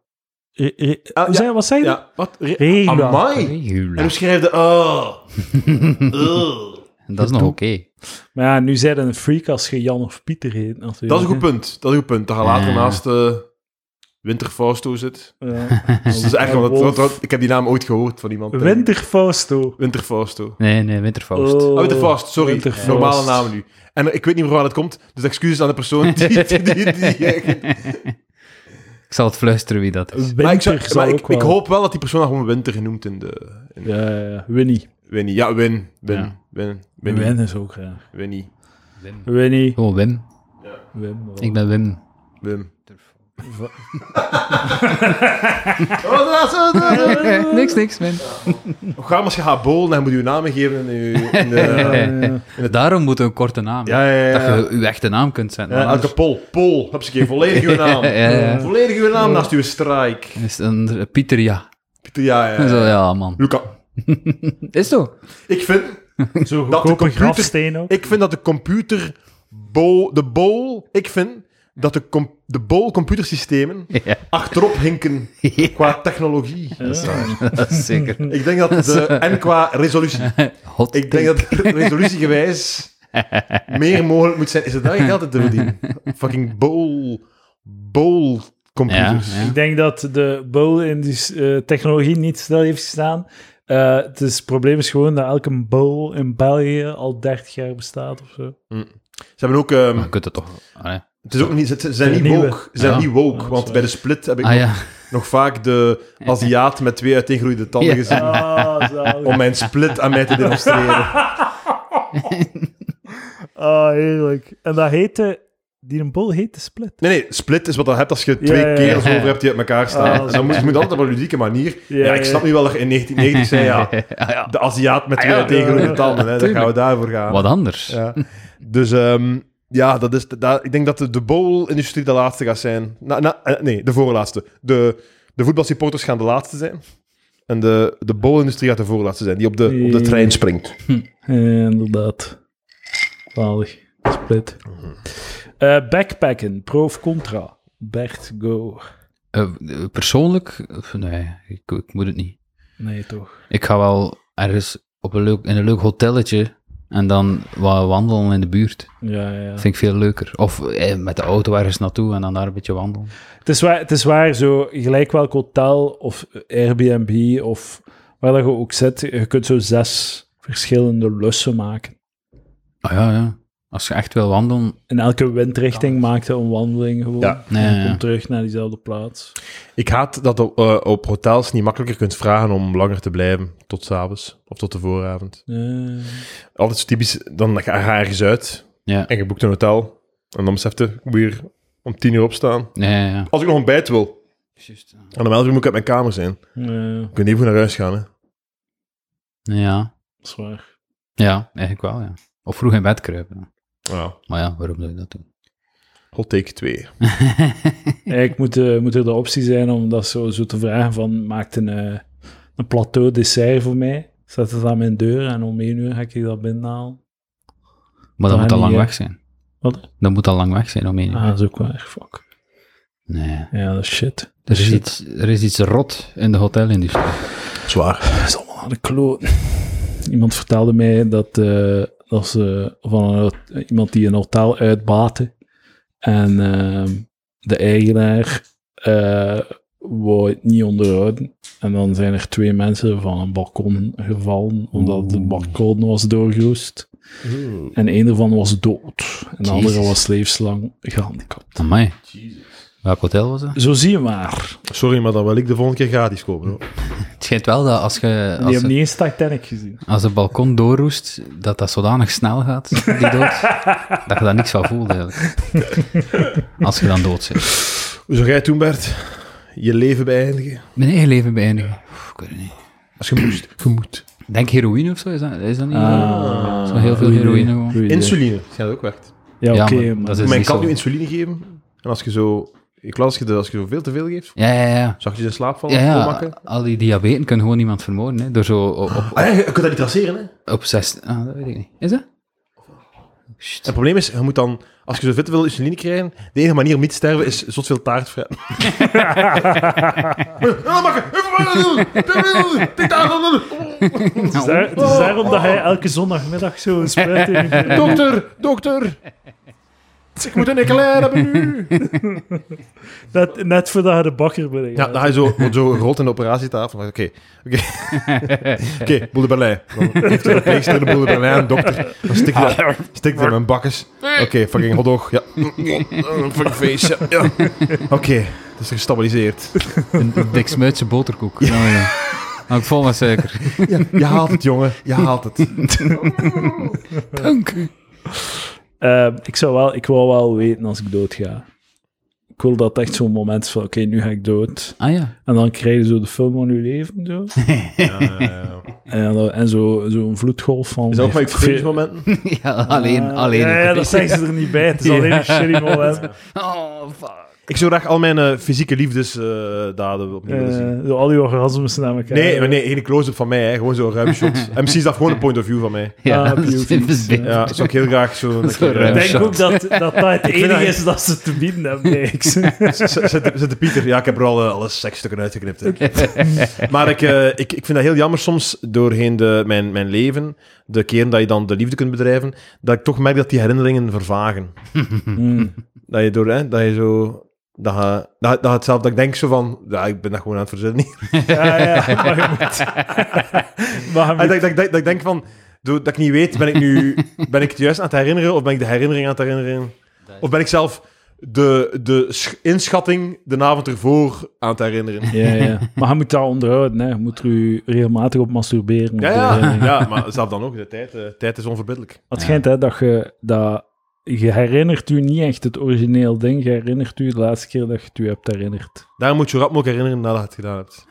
Re- re-
Ah,
Hoe
ja.
zei- wat zei je?
Ja, wat? Re-
Regla.
Amai. En
Regula.
hoe schrijf je... Oh.
<laughs>
Ugh.
Dat is nog oké.
Maar ja, nu zijn een freak als je Jan of Pieter heet natuurlijk.
Dat is een goed punt. Dat is een goed punt. Dat je later
Ja.
naast eh Winter Fausto zit.
Ja.
Dus dat is echt,
<laughs> Een
omdat,
wolf.
want- ik heb die naam ooit gehoord van iemand. eh,
Winter Fausto.
Winter Fausto.
Nee, nee, Winterfaust.
Oh.
<laughs>
Ah, Winter Faust, sorry.
Winter Faust.
Normale naam nu. En ik weet niet meer waar dat komt, dus excuses aan de persoon die... die, die,
<laughs>
die-
Ik zal het fluisteren wie dat is.
Winter
maar ik, zou-
zal
maar ik,
ook wel.
ik hoop wel dat die persoon gewoon Winter genoemd in de... In,
Ja, ja, ja. Winnie.
Winnie. Ja, Win. Win.
Ja.
Win. Winnie.
Win is ook graag.
Winnie.
Winnie.
Gewoon Wim.
Wim.
Ik ben Wim.
Wim. <laughs>
Va- <laughs>
Oh, dat is het, dat is het.
niks, niks, Wim.
Ga maar als je gaat bowlen, dan moet je je namen geven in je...
<laughs>
in de-
eh,
Daarom moet een korte naam.
ja, ja, ja. ja.
Dat je je echte naam kunt zetten.
Ja,
Anders
elke pol. Pol. Heb ze een keer volledig
<laughs>
uw naam.
dus- Ja, ja, ja.
Volledig uw naam naast uw strike.
is het een Pieter ja.
Pieter, ja, ja.
Zo,
ja.
ja, man.
Luca,
Is zo.
ik vind,
Zo
<laughs> de
goedkope
computer-
grafsteen ook.
ik vind dat de computer... Bo, de bol... Ik vind dat de, com, de bol computersystemen
<laughs> Ja.
achterop hinken qua technologie.
Ja.
<laughs> Dat is zeker.
<laughs> Ik denk
<laughs>
dat de, en qua resolutie.
Hot
Ik
<laughs>
denk dat resolutiegewijs meer mogelijk moet zijn. Is het daar geld in te verdienen?
<laughs>
Fucking bol... Bol computers.
Ja, ja.
Ik denk dat de bowl in die eh, technologie niet stil heeft gestaan. Eh, het, is, het probleem is gewoon dat elke bowl in België al 30 jaar bestaat of zo.
Ze hebben ook... ehm,
Maar je kunt het toch... Allee.
Het is ook niet, ze ze zijn
De
niet
nieuwe.
woke. Ze zijn
Ja.
niet woke,
Ja,
want
sorry.
bij de split heb ik
Ah
nog,
ja.
nog tank de Aziat met twee uiteengroeide tanden
Ja.
gezien
Ah, zalig.
om mijn split aan
<laughs>
mij te demonstreren.
Ah, heerlijk. En dat heette... Die een bol heette Split.
Nee, nee, split is wat je hebt als je
Ja,
twee
ja, ja.
kerels over hebt die uit elkaar
Ah,
staan.
dat is
En dan moet je moet altijd op een ludieke manier.
Ja,
Ja,
ja.
ik snap nu wel
<laughs>
dat je in 1990 zei, ja,
Ah ja.
de Aziat met
Ah,
twee
ja.
uiteengroeide tanden. Hè, dan gaan we
Tuurlijk.
daarvoor
<laughs>
gaan.
Wat anders.
Ja. Dus ehm, ja, dat is, dat, ik denk dat de, de bowl-industrie de laatste gaat zijn. Na, na, eh, nee, de voorlaatste. De, de voetbalsupporters gaan de laatste zijn. En de, de bowl-industrie gaat de voorlaatste zijn, die op de, op de trein springt.
Eh, inderdaad. Zalig. Split. Eh, backpacken, pro of contra? Bert, go.
Eh, eh, persoonlijk? eh, Nee, ik, ik moet het niet.
Nee, toch.
Ik ga wel ergens op een leuk, in een leuk hotelletje en dan wat wandelen in de buurt.
Ja, ja.
Dat vind ik veel leuker. Of eh, met de auto ergens naartoe en dan daar een beetje wandelen.
Het is waar, het is waar zo gelijk welk hotel of Airbnb of waar dat je ook zit, je kunt zo zes verschillende lussen maken.
Ah ja, ja. Als je echt wil wandelen,
In elke windrichting maakt je een wandeling gewoon.
Ja.
En je
Ja, ja.
komt terug naar diezelfde plaats.
Ik haat dat op, eh, op hotels niet makkelijker kunt vragen om langer te blijven. Tot s'avonds of tot de vooravond.
Eh,
Altijd zo typisch, dan ga je ergens uit
ja.
en je boekt een hotel. En dan beseft je, ik moet hier om tien uur opstaan.
Ja, ja, ja.
Als ik nog ontbijt wil. En om elf uur moet ik uit mijn kamer zijn.
eh,
Ik kan niet goed naar huis gaan, hè.
Ja,
dat is waar.
ja eigenlijk wel, ja. Of vroeg in bed kruipen.
Ja.
Maar ja, waarom zou je dat doen?
Hot take 2.
Eigenlijk moet, eh, moet er de optie zijn om dat zo, zo te vragen van, maak een, eh, een plateau dessert voor mij, zet het aan mijn deur en om één uur ga ik je dat binnenhalen.
Maar
Maar
dat moet al lang
niet, hè.
weg zijn.
Wat?
Dat moet al lang weg zijn, Roemenië.
Ah, dat is ook wel echt fuck. Dus
Nee.
Ja, dat is shit.
Er is, iets, er is iets rot in de hotelindustrie.
Zwaar.
Dat is allemaal aan de kloot. Iemand vertelde mij dat, eh, dat ze van een hot- iemand die een hotel uitbaten en ehm, de eigenaar eh wou het niet onderhouden. En dan zijn er twee mensen van een balkon gevallen, omdat het
Oeh.
balkon was doorgeroest. En een ervan was dood. En de andere
Jezus.
was levenslang gehandicapt.
Amai. Welk hotel was dat?
Zo zie je maar.
Sorry, maar dan wil ik de volgende keer gratis kopen. hoor.
Het schijnt wel dat als je...
Die
Als
hebben
het,
niet eens Titanic gezien.
als het balkon doorroest, dat dat zodanig snel gaat, die dood, dat je daar niks van voelt eigenlijk. Als je dan dood zit.
Hoe zou jij toen, Bert, je leven beëindigen?
Mijn eigen leven beëindigen. Oef, ik weet het niet.
Als je moest. Je moet.
Denk heroïne of zo, is dat, is dat niet?
Ah,
Zo heel veel
goeie
heroïne
idee.
gewoon.
Goeie idee.
Insuline. Ja, dat ook werkt.
Ja,
Ja,
oké,
maar
maar
dat is-
Maar je
niet
kan
zo.
nu insuline geven. En als je zo... Ik las als je, de- als je zo veel te veel geeft,
Ja, ja, ja.
zag je in slaap vallen.
Ja, ja,
opmakken.
al die diabeten kunnen gewoon iemand vermoorden. Hè, door zo op, op,
Ah, ja, je kunt dat niet traceren, hè.
op zes... Ah, dat weet ik niet. Is dat? Sst.
Het probleem is, je moet dan... Als je zoveel te veel insuline krijgt, de enige manier om niet te sterven is zot veel taart fretten. Ah, makker!
Het is, Dus daar- het is daarom dat hij elke zondagmiddag
<laughs>
zo een spuit in
Eh,
je-
Dokter! Dokter! Ik moet een eclair hebben nu!
net, net voordat hij de bakker brengt.
<laughs> Ja, dan ga je zo, wordt zo gerold in de operatietafel. Maar Oké, oké. <laughs> Oké, boel de Berlijn. Dan heeft de verpleegster de boel de Berlijn, een dokter. Dan stik je dat- stik je in mijn bakkes. Oké, fucking hotdog. Ja. Fucking feestje. Ja. Oké, het is gestabiliseerd.
Een een dik smuitse boterkoek. Ja. Nou, ja. Hou ik vol met suiker.
Je haalt het, jongen. Je haalt <laughs> het.
Dank.
Eh, ik zou wel, ik wil wel weten als ik dood ga. Ik wil dat echt zo'n moment is van, oké, nu ga ik dood.
Ah ja.
En dan krijg je zo de film van je leven, zo.
<laughs>
en, dan- en zo- zo'n vloedgolf van...
Is dat ook mijn cringe
Ve-
momenten?
<laughs> ja alleen,
Ah,
alleen.
Ja, ja, dat zeggen ze er niet bij.
<laughs>
Het is alleen een shitty moment. Eh,
Oh, fuck.
Ik zou graag al mijn eh, fysieke liefdesdaden opnieuw willen zien.
Eh, zo al die orgasmes naar elkaar.
Nee, maar nee, geen close-up van mij, hè. gewoon zo'n ruim shot.
<laughs>
MC is dat gewoon een point of view van
<laughs>
mij.
Ja,
Ah,
dat is- dat is
beauty.
beter.
Ja, dat zou ik heel graag zo.
<laughs>
eh,
Zo'n ruim
Ik
<laughs>
denk
shot.
ook dat dat, dat het
vind
enige
dat-
is dat ze te bieden hebben. Nee, ik
<laughs> Zet de Pieter. Ja, ik heb er al eh, alle seksstukken uitgeknipt. hè. <laughs> maar ik, eh, ik, ik vind dat heel jammer soms doorheen de, mijn, mijn leven, de keren dat je dan de liefde kunt bedrijven, dat ik toch merk dat die herinneringen vervagen. Hmm. Dat je door, hè, dat je zo... Dat, je- dat, dat hetzelfde, dat ik denk zo van, ja, ik ben dat gewoon aan het verzinnen. hier.
Ja, ja, <laughs> maar je moet... Maar je
En
moet-
Ah, dat, ik- dat, ik- dat, ik- dat ik denk van, door- dat ik niet weet, ben ik nu ben ik het juist aan het herinneren of ben ik de herinnering aan het herinneren? Of ben ik zelf de, de sch- inschatting de avond ervoor aan het herinneren?
ja, ja. <laughs> Maar je moet dat onderhouden, hè. Je moet er u regelmatig op masturberen.
Ja,
op <laughs> de
ja.
herinnering.
ja, maar zelf dan ook. De tijd, eh, tijd is onverbiddelijk.
Het schijnt hè, dat je... Dat, je herinnert u niet echt het origineel ding. Je herinnert u de laatste keer dat je het u hebt herinnerd.
Daar moet je rap ook herinneren nadat je het gedaan hebt.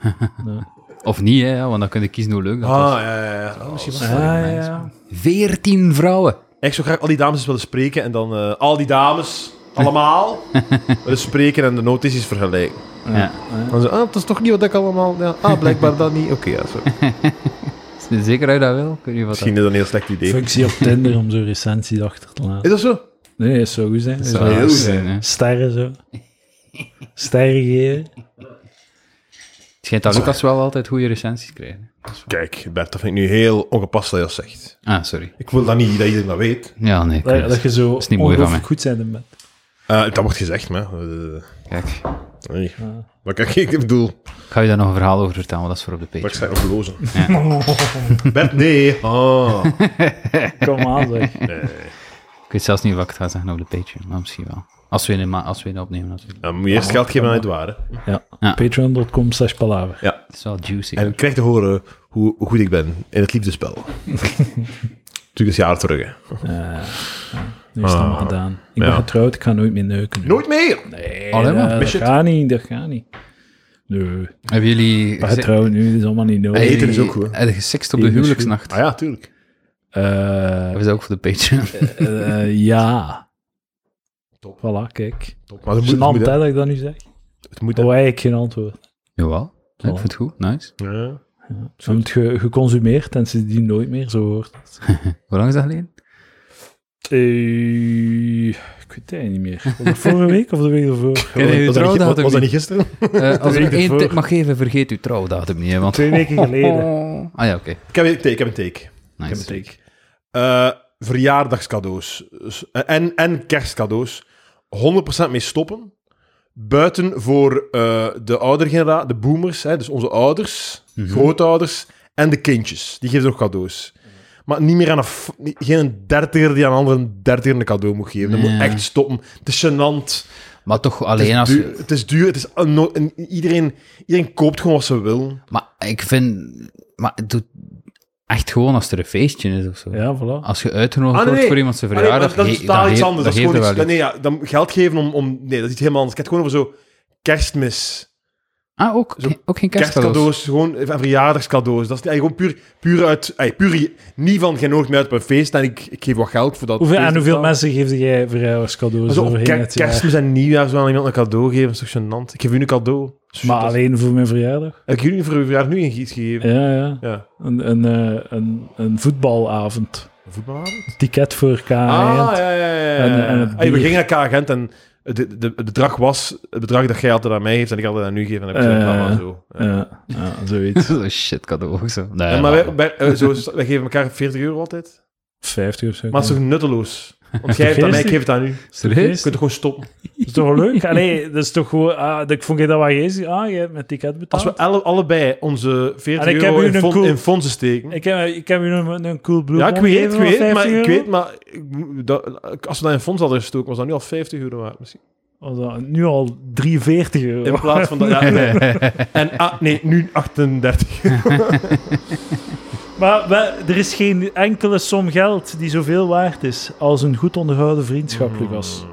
Of niet, hè, want dan kun je kiezen hoe leuk dat was.
Ah, ja, ja, ja. Oh, misschien wel.
Ah,
ja. Veertien vrouwen.
Ik zou graag al die dames eens willen spreken en dan eh, al die dames, allemaal, willen spreken en de notities vergelijken.
Ja.
Dan zo, ah, dat is toch niet wat ik allemaal... Ja. Ah, blijkbaar dat niet. Oké, ja, zo.
Zeker uit dat wil? Ik weet niet wat
Misschien is dat een heel slecht idee.
Functie op Tinder om zo'n recensie achter te laten.
Is dat zo?
Nee, dat zou goed zijn. Dat
dat
zou
zou
heel
zijn. hè.
Sterren zo. Sterren geven.
Het schijnt dat Lucas wel altijd goede recensies krijgt. hè.
Kijk, Bert, dat vind ik nu heel ongepast dat je dat zegt.
Ah, sorry.
Ik wil dat niet, dat iedereen dat weet.
Ja, nee.
Dat,
klopt.
dat je zo
is niet mooi van
ongelooflijk goed zijn in bed.
Eh, dat wordt gezegd, maar... eh,
Kijk,
nee.
Ah.
Maar kijk, ik bedoel...
ik ga je daar nog een verhaal over vertellen, want dat is voor op de
Maar
page.
ik sta nog lozen. <laughs> Bert, nee. Ah.
Kom aan, zeg.
Ik weet zelfs niet wat ik het ga zeggen op de page, maar misschien wel. Als we een, ma- als we een opnemen natuurlijk.
Dan moet je eerst geld geven aan het ware.
Ja.
Ja.
Patreon.com slash palaver.
Het is wel juicy.
En krijg te horen hoe, hoe goed ik ben in
<laughs>
het liefdespel. Natuurlijk een jaar terug. hè.
Nu is het
Ah.
allemaal gedaan. Ik ben
Ja.
getrouwd, ik ga nooit meer neuken. nu.
Nooit meer!
Nee,
Alleen maar?
dat, dat gaat niet, dat gaat niet. Nee, ik
Hebben jullie...
ben
gese-
getrouwd nu, dat is allemaal niet nodig.
Hey.
hebben
Ah, Eten is
jullie-
ook goed, hè?
Hebben je gesext op de
Eten is
huwelijksnacht?
Ah ja, tuurlijk.
Eh,
Hebben ze ook voor de Patreon?
eh, ja.
Top.
Voilà, kijk.
Top. Maar het moet, het
Genant,
moet,
hè, dat ik dat nu zeg.
het moet,
Dat was eigenlijk geen antwoord.
<laughs> Jawel. Ja, ik
Voilà.
vind het goed. Nice.
Ja.
Ze hebben het ge- geconsumeerd en sindsdien nooit meer zo hoort. het.
Hoe lang is dat
<laughs>
geleden?
Eh, ik weet het eigenlijk niet meer. Was dat vorige week of de week
<laughs>
ervoor?
Ken je uw
was, dat niet, was,
trouwdatum
was dat
niet?
niet gisteren?
Eh,
Twee
als ik
weken
één
voor.
tip mag geven, vergeet uw trouwdatum niet. hè, Want... <laughs>
Twee weken geleden.
Ah ja, oké.
Ik heb, ik, ik heb een take.
Nice.
Ik heb een take.
Eh, verjaardagscadeaus S- eh, en, en kerstcadeaus 100% mee stoppen. Buiten voor eh, de oudere generatie, de boomers, hè, dus onze ouders,
Mhm.
grootouders en de kindjes. Die geven nog cadeaus. Maar niet meer aan een, f- niet- geen dertiger die aan een andere dertiger een cadeau moet geven. Dat moet
Ja.
echt stoppen. Het is gênant.
Maar toch
Het is,
alleen als...
duur, het is duur. Het is onno- en iedereen, iedereen koopt gewoon wat ze wil.
Maar ik vind... Maar het doet echt gewoon als er een feestje is of zo.
Ja, voilà.
Als je uitgenodigd
Ah, nee,
wordt
nee.
voor iemand zijn
Ah, nee, maar
verjaardag,
dat is
ge-
totaal
dan
iets
ge-
anders.
dan
Dat is
geeft
gewoon
er
iets,
wel
nee, ja, dan geld geven om, om... Nee, dat is iets helemaal anders. Ik heb het gewoon over zo... Kerstmis.
Ah, ook,
Zo-
geen- ook geen <laughs> kerstcadeaus?
Kerstcadeaus, gewoon en verjaardagscadeaus. Dat is eigenlijk gewoon puur, puur uit... ey, puur, niet van, je nodigt mij uit op een feest en ik, ik geef wat geld voor dat
Hoeveel,
feest.
aan hoeveel mensen geef jij verjaardagscadeaus
Zo, op
overheen
ker-
het jaar?
kerstmis en nieuwjaar zo aan iemand een cadeau geven, dat is toch gênant? Ik geef u een cadeau. Zo,
Maar
dat is-
alleen voor mijn verjaardag?
Heb ik jullie voor uw verjaardag nu iets gegeven?
Ja, ja.
Ja.
Een, een, eh, een, een voetbalavond.
Voetbalavond?
Ticket voor KA.
Ah, ja, ja, ja. ja.
En- en het
Ey, we
bier.
gingen naar K-Gent en het de, de, het bedrag was het bedrag dat jij altijd aan mij geeft en ik altijd aan u geef. En dan heb ik
Eh,
gezegd, mama, zo. Ja.
ja, ja, zoiets. <laughs>
Zo shit cadeau ook zo. Nee,
Ja, maar
maar-
wij, wij, eh, zo, is- wij geven elkaar 40 euro altijd.
50 of zo.
Maar het is toch nutteloos? Want jij geeft het aan mij, ik geef het aan u. Je
Serieus?
kunt toch gewoon stoppen?
is toch
<laughs>
leuk? Allee, dat is toch gewoon... ah, dat- ik vond je dat wel geestig. Ah, je hebt mijn ticket betaald.
Als we alle, allebei onze 40
En ik heb
euro
u
in,
een
fon-
cool-
in fondsen steken...
Ik heb, ik heb u een, een cool blue
ja, ik
bond
weet, ik
gegeven van
weet, maar,
50
ik
euro.
weet, maar ik moet- dat- als we dat in fonds hadden gestoken, was dat nu al 50 euro
<laughs>
waard misschien.
Was dat nu al 43 euro.
In plaats van dat... Ja, nee. En ah, nee, nu 38.
<laughs> Maar we- er is geen enkele som geld die zoveel waard is als een goed onderhouden vriendschap, Lucas.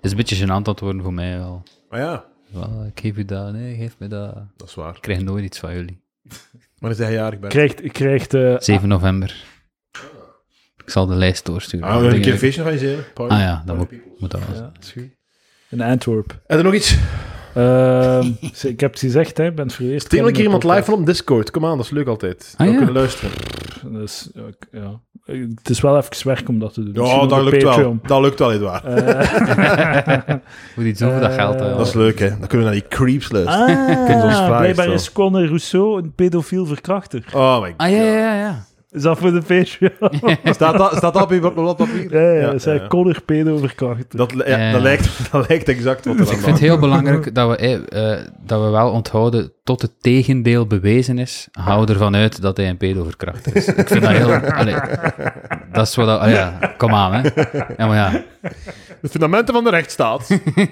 Het is een beetje gênant dat worden voor mij wel.
Maar ja,
Wel, ik geef u dat, nee, geef me dat.
dat is waar.
Ik krijg nooit iets van jullie.
Maar is hij jarig bij.
Krijgt, krijgt eh,
Ah.
7 november. Ik zal de lijst doorsturen.
Ah, we gaan een
Dingen-
keer een feestje organiseren. Party.
Ah ja, dat moet, moet dat wel.
Ja, in Antwerp.
En dan nog iets.
Ehm, ze- ik heb het gezegd, hè, ik ben het voor het eerst.
Tegen een keer
kennen
iemand
in de
live van op Discord. Kom aan, dat is leuk altijd.
Ah,
dan
ja.
kunnen luisteren.
podcast. Dus, ja, ik- ja. Het is wel even werk om dat te doen. Misschien
Ja,
op
dat
de
lukt wel.
Patreon.
Dat lukt wel, Edouard.
Ah.
<laughs>
Eh,
Moet iets over dat geld.
Eh,
hè.
Dat is leuk, hè. Dan kunnen we naar die creeps luisteren. Kijk, ons
ah,
vraagt
blijkbaar
wel.
is Conor Rousseau een pedofiel verkrachter.
Oh my god.
Ah ja, ja, ja, ja.
Is dat voor de Patreon?
Staat dat, staat dat op je bladpapier?
ja, ja, ja,
ja.
Conor pedo verkrachter.
Dat, li- ja,
Ja.
dat, lijkt, <laughs> dat lijkt exact
<laughs>
wat er
Ik
aan
vind het
de
heel belangrijk dat we, eh, eh, dat we wel onthouden tot het tegendeel bewezen is. Hou ervan uit dat hij een pedoverkrachter is. Ik vind dat heel... allee, dat is wat... dat- ah ja, kom aan, hè. Ja, maar ja.
De fundamenten van de rechtsstaat. nee,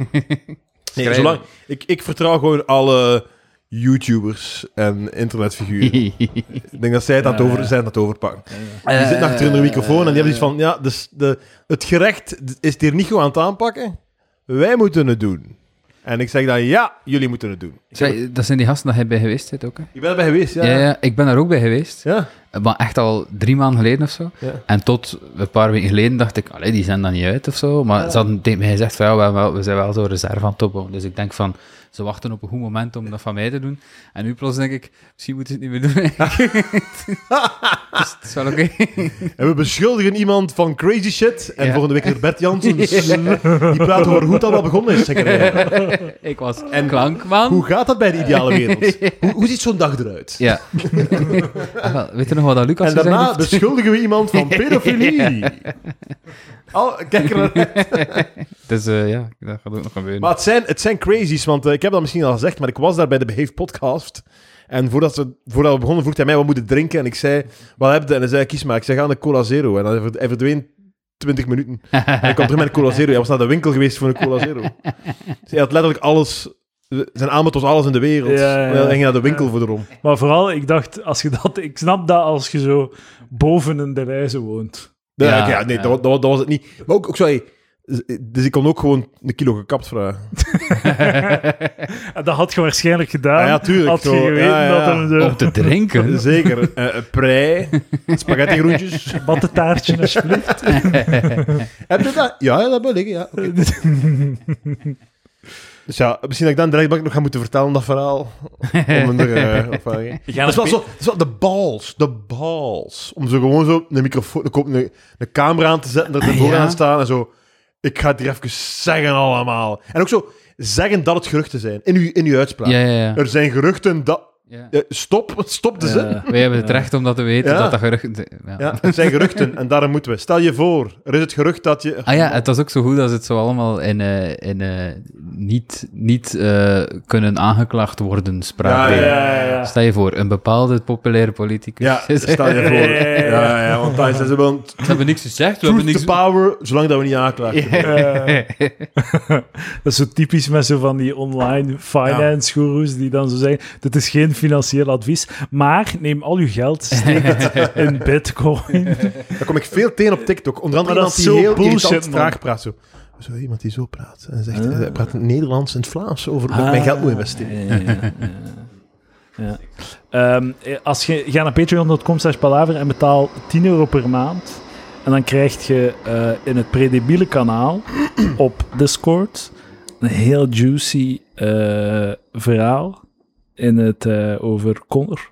Schrijven.
zolang, ik, ik vertrouw gewoon alle YouTubers en internetfiguren. ik denk dat zij het aan het
Ja,
over,
ja.
zij het aan het overpakken.
Eh,
Die zitten achter hun microfoon en die hebben iets van... Ja, dus de, het gerecht is het hier niet goed aan het aanpakken. Wij moeten het doen. En ik zeg dan, ja, jullie moeten het doen.
<laughs> Zij- dat zijn die gasten dat jij bij geweest bent ook, hè?
Je bent erbij geweest, ja?
Ja, ja, ik ben daar ook bij geweest.
Ja.
Maar echt al drie maanden geleden of zo.
Ja.
En tot een paar weken geleden dacht ik, allee, die zijn dan niet uit of zo. Maar ze hadden tegen mij gezegd, van, ja, we, hebben wel- we zijn wel zo'n reserve aan het opbouwen. Dus ik denk van, ze wachten op een goed moment om dat van mij te doen. En nu plots denk ik, misschien moeten ze het niet
<laughs>
meer doen. <laughs> dus het is wel oké.
En we beschuldigen iemand van crazy shit. En
Ja.
volgende week is er Bert Jansen. Dus,
<laughs>
Die praat over hoe het allemaal begonnen is, zeg maar.
ik was en klankman.
Hoe gaat dat bij de ideale wereld? Hoe, hoe ziet zo'n dag eruit?
Ja. Ah, wel, Weet je nog wat dat Lucas
En
gezegd
daarna dus-
heeft?
beschuldigen we
<laughs>
iemand van pedofilie. Al, kijk er naar-
Dus eh, ja, dat gaat ook nog gebeuren.
maar het zijn, het zijn crazies, want eh, ik heb dat misschien al gezegd, maar ik was daar bij de Behave podcast. En voordat we, voordat we begonnen vroeg hij mij wat moeten drinken. En ik zei, wat heb je? En hij zei, kies maar. Ik zei, ga naar Cola Zero. En dan verd- hij verdween 20 minuten. En hij kwam terug met een Cola Zero. Hij was naar de winkel geweest voor een Cola Zero. Dus hij had letterlijk alles... Zijn aanbod was alles in de wereld.
Ja, ja, ja.
En Hij ging naar de winkel voor de rom.
Maar vooral, ik dacht, als je dat, ik snap dat als je zo boven een Deleuze woont.
Nee,
Ja,
oké, ja, nee
ja.
Dat, dat, dat was het niet. Maar ook, ook sorry, Dus ik kon ook gewoon een kilo gekapt vragen.
En dat had je waarschijnlijk gedaan.
Ah ja, tuurlijk,
Had je
zo.
geweten
Ja, ja, ja.
dat er
Om te
<laughs>
drinken.
Zeker. eh eh, prei,
<laughs>
spaghetti groentjes.
een <laughs> battentaartje alsjeblieft.
Heb je dat? Ja, ja, dat wil ik, ja.
<laughs>
oké. Dus ja, misschien dat ik dan direct ben ik nog ga moeten vertellen dat verhaal. Om er, eh,
<laughs>
op, eh,
Ja,
dat is wel zo, dat is wel de balls, de balls. Om zo gewoon zo een microfoon, een, een, een camera aan te zetten, er ervoor
Ja.
aan te staan en zo. Ik ga het hier even zeggen allemaal. En ook zo zeggen dat het geruchten zijn, in uw, in uw uitspraak.
Ja, ja, ja.
Er zijn geruchten dat...
ja.
eh, stop, stop de zin.
Wij hebben het recht om dat te weten,
Ja.
dat dat gerucht... Ja.
Ja, het zijn geruchten en daarom moeten we. Stel je voor, er is het gerucht dat je...
Ah ja, het was ook zo goed als het zo allemaal in, eh, in eh, niet, niet eh, kunnen aangeklaagd worden spraak.
ja,
Ja,
deed.
ja, ja.
Stel je voor, een bepaalde populaire politicus. <laughs>
Ja,
Ze
stel je voor. Ja, ja, want daar zijn ze wel...
hebben niks gezegd, we
Truth
hebben
the
niks...
power, zolang dat we niet aanklagen.
<laughs>
Eh, dat is zo typisch met zo van die online finance gurus die dan zo zeggen: Dit is geen financieel advies, maar neem al uw geld, steek het in Bitcoin.
Daar kom ik veel tegen op TikTok. Onder andere
Maar
iemand
dat is
die
zo
heel
bullshit,
irritant
man.
traag praat. Zo. zo iemand die zo praat. En zegt, hij praat in het Nederlands en het Vlaams over
Ah.
hoe ik mijn geld moet investeren.
Ja, ja, ja, ja. Ja. Ehm, eh, als je ga naar patreon.com slash palaver en betaal 10 euro per maand. En dan krijg je eh, in het predebiele kanaal op Discord een heel juicy eh, verhaal in het, eh, over Connor.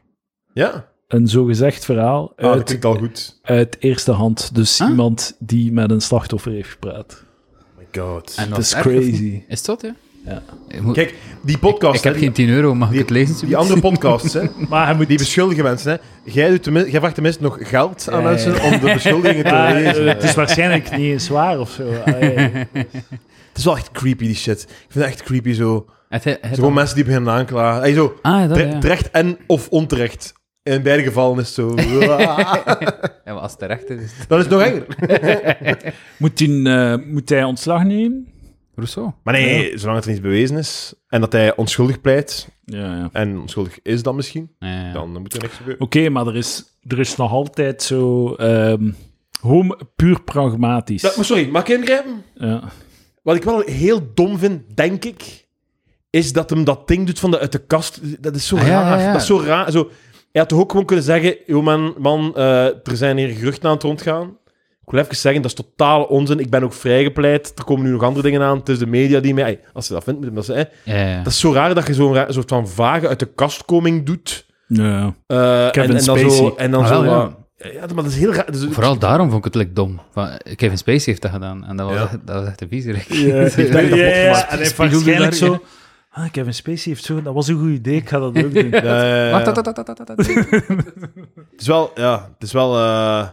Ja,
Een zogezegd verhaal
Ah, dat
uit,
klinkt al goed.
uit eerste hand. Dus
Huh?
iemand die met een slachtoffer heeft gepraat.
Oh my god.
En
Dat is
erg, of niet?
crazy.
Is dat, ja?
Ja.
Ik, moet-
Kijk, die
ik
podcast...
heb
hè,
geen 10 euro, mag
die-
ik het lezen?
die, die andere podcasts, hè,
<laughs> Maar hij moet
die beschuldigen mensen. Hè. Jij, doet tenmin- jij vraagt tenminste nog geld aan
Ja, ja,
mensen
ja.
om de beschuldigingen te
Ja,
lezen.
eh, het is waarschijnlijk niet eens waar of zo. Ah, Allee.
Het is wel echt creepy, die shit. Ik vind het echt creepy zo. Het
Het, het,
zijn gewoon mensen die beginnen aanklagen. Hey, zo,
Ah, dat,
tre-
ja.
terecht en of onterecht. In beide gevallen is het zo. <laughs>
Ja, maar als het terecht is, is het-
dat is nog enger.
<laughs> Moet, hij, eh, moet hij ontslag nemen?
Rousseau.
Maar nee, zolang het er niet bewezen is en dat hij onschuldig pleit,
Ja, ja.
en onschuldig is dan misschien,
Ja, ja.
dan moet er niks gebeuren.
Oké, maar er is, er is nog altijd zo... ehm home puur pragmatisch.
Ja, maar sorry, mag ik ingrijpen?
ja.
Wat ik wel heel dom vind, denk ik, is dat hem dat ding doet van de uit de kast. Dat is zo
Ah,
raar.
ja, ja, ja.
Dat is zo raar. Zo, hij had toch ook gewoon kunnen zeggen, joh man, man eh, er zijn hier geruchten aan het rondgaan. Ik wil even zeggen, dat is totale onzin. Ik ben ook vrijgepleit. Er komen nu nog andere dingen aan. Het is de media die mij... Ey, Als ze dat vindt, moet hem dat zeggen.
Ja, ja, ja.
Dat is zo raar dat je zo'n raar- soort van vage uit de kastkoming doet.
Ja.
Eh,
Kevin
en, en dan
Spacey.
Zo, en dan
Ah,
zo...
wel, ja.
wat- ja, maar dat is heel raar. Dat is-
Vooral daarom vond ik het like dom. Van, Kevin Spacey heeft dat gedaan. En dat was,
Ja.
echt, dat was echt een
<laughs>
viezerik. <laughs>
Ja,
heeft daar kapot gemaakt.
en hij heeft
Spiegelde
waarschijnlijk
daar-
zo... Ah, Kevin Spacey heeft zo... Dat was een goed idee, <laughs> ik ga dat ook doen.
Ja, ja, ja.
Wacht, dat, dat, dat, dat, dat, dat.
Het is wel, ja, het is wel. eh,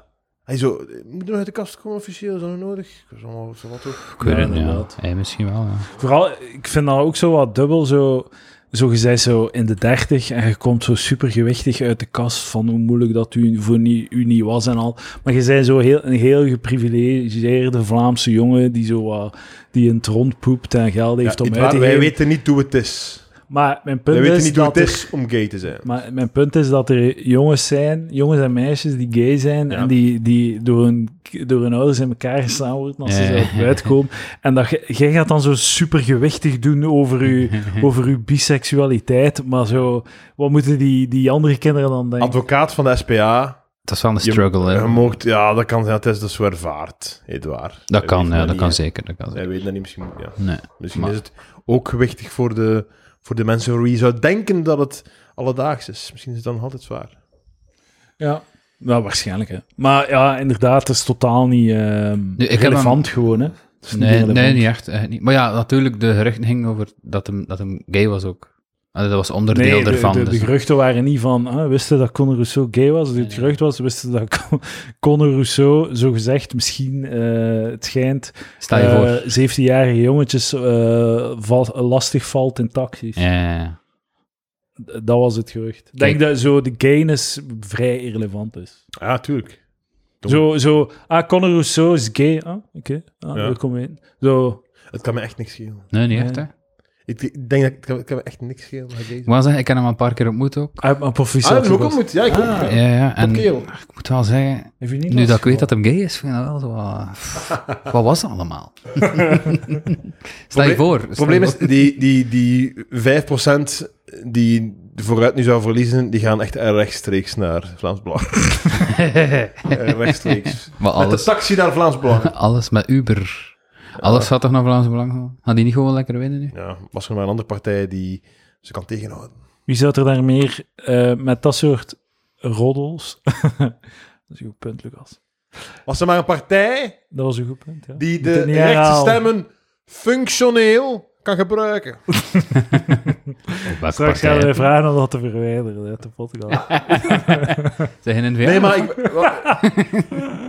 hij zo, moet er nog uit de kast komen officieel, is dat nog nodig? Ik was allemaal zo wat toch.
Ik weet
Ja,
het niet, ja.
inderdaad.
Hey, misschien wel, ja.
Vooral, ik vind dat ook zo wat dubbel, zo... Zo gezegd, zo in de 30 en je komt zo supergewichtig uit de kast van hoe moeilijk dat u voor niet, u niet was en al. Maar je bent zo heel, een heel geprivilegeerde Vlaamse jongen die zo wat- die in het rond poept en geld heeft om uit te
wij
geven.
weten niet hoe het is.
Maar mijn
Wij
punt
weten
is
niet hoe
dat
het
er,
is om gay te zijn.
Maar mijn punt is dat er jongens zijn, jongens en meisjes die gay zijn
Ja.
en die, die door, hun, door hun ouders in elkaar geslaan worden als
Ja.
ze zo uitkomen. En dat, je- jij gaat dan zo super gewichtig doen over
<laughs>
je, over uw biseksualiteit, maar zo, wat moeten die, die andere kinderen dan denken?
Advocaat van de SPA.
Dat is wel een
Je-
struggle, hè.
Je mocht, ja, dat kan zijn. Het is dus zo ervaard, Edouard.
Dat
Wij
kan,
weten
ja, dat
niet,
kan
hè.
zeker. Dat kan
Wij
zeker.
weten dat niet. Misschien, ja.
Nee.
misschien
maar-
is het ook gewichtig voor de, voor de mensen voor wie je zou denken dat het alledaags is. Misschien is het dan nog altijd zwaar.
Ja. Nou, waarschijnlijk, hè. Maar ja, inderdaad, het is totaal niet ehm,
Nu, ik heb
relevant gewoon, hè. Het is niet
Nee,
relevant.
nee, niet echt. echt niet. Maar ja, natuurlijk, de geruchten gingen over dat hem, dat hem gay was ook. En dat was onderdeel
Nee, de,
ervan.
de- de
dus-
geruchten waren niet van, ah, wisten dat Conor Rousseau gay was? Het gerucht was, wisten dat Con- <laughs> Conor Rousseau, zogezegd, misschien, eh, het schijnt,
Stel je
eh,
voor.
17-jarige jongetjes eh, val- lastig valt in taxis.
Ja, ja, ja.
D- Dat was het gerucht. Ik denk dat zo de gayness vrij irrelevant is.
Ja, tuurlijk. Dom.
Zo, zo, ah, Conor Rousseau is gay. Ah, oké, ah,
Ja.
daar kom je in. Zo,
Het kan me echt niks schelen.
Nee, niet echt, hè.
Nee.
Ik Ik, ik denk dat ik, kan- ik kan me echt niks schelen. met deze.
Ik wil zeggen, ik heb hem al een paar keer ontmoet ook.
Uit
Ah,
mijn
Ah, dat
proficiat.
heb ik ook ontmoet. Ja, ik ook.
Ja, ja. En
kerel.
ik moet wel zeggen, nu dat ik weet dat hem gay is, vind ik dat wel zo... wat-
<laughs>
Wat was dat allemaal? Stel je
Probleem-
voor.
Het probleem is, die, die, die 5% die vooruit nu zou verliezen, die gaan echt rechtstreeks naar Vlaams
<laughs>
Belang. Eh, rechtstreeks.
Maar
Met de
alles,
taxi naar Vlaams Belang.
alles met Uber. Alles gaat toch naar Vlaams Belang? gaan? Gaan die niet gewoon lekker winnen nu?
Ja, was er maar een andere partij die ze kan tegenhouden.
Wie zou er daar meer eh, met dat soort roddels... <laughs> dat is een goed punt, Lucas.
Was er maar een partij
Dat was een goed punt, ja.
die
Moet
de
het niet
rechtse
herhalen.
stemmen functioneel kan gebruiken.
Straks gaan we vragen om dat te verwijderen uit de podcast.
Zijn in
Nee, maar ik... wa-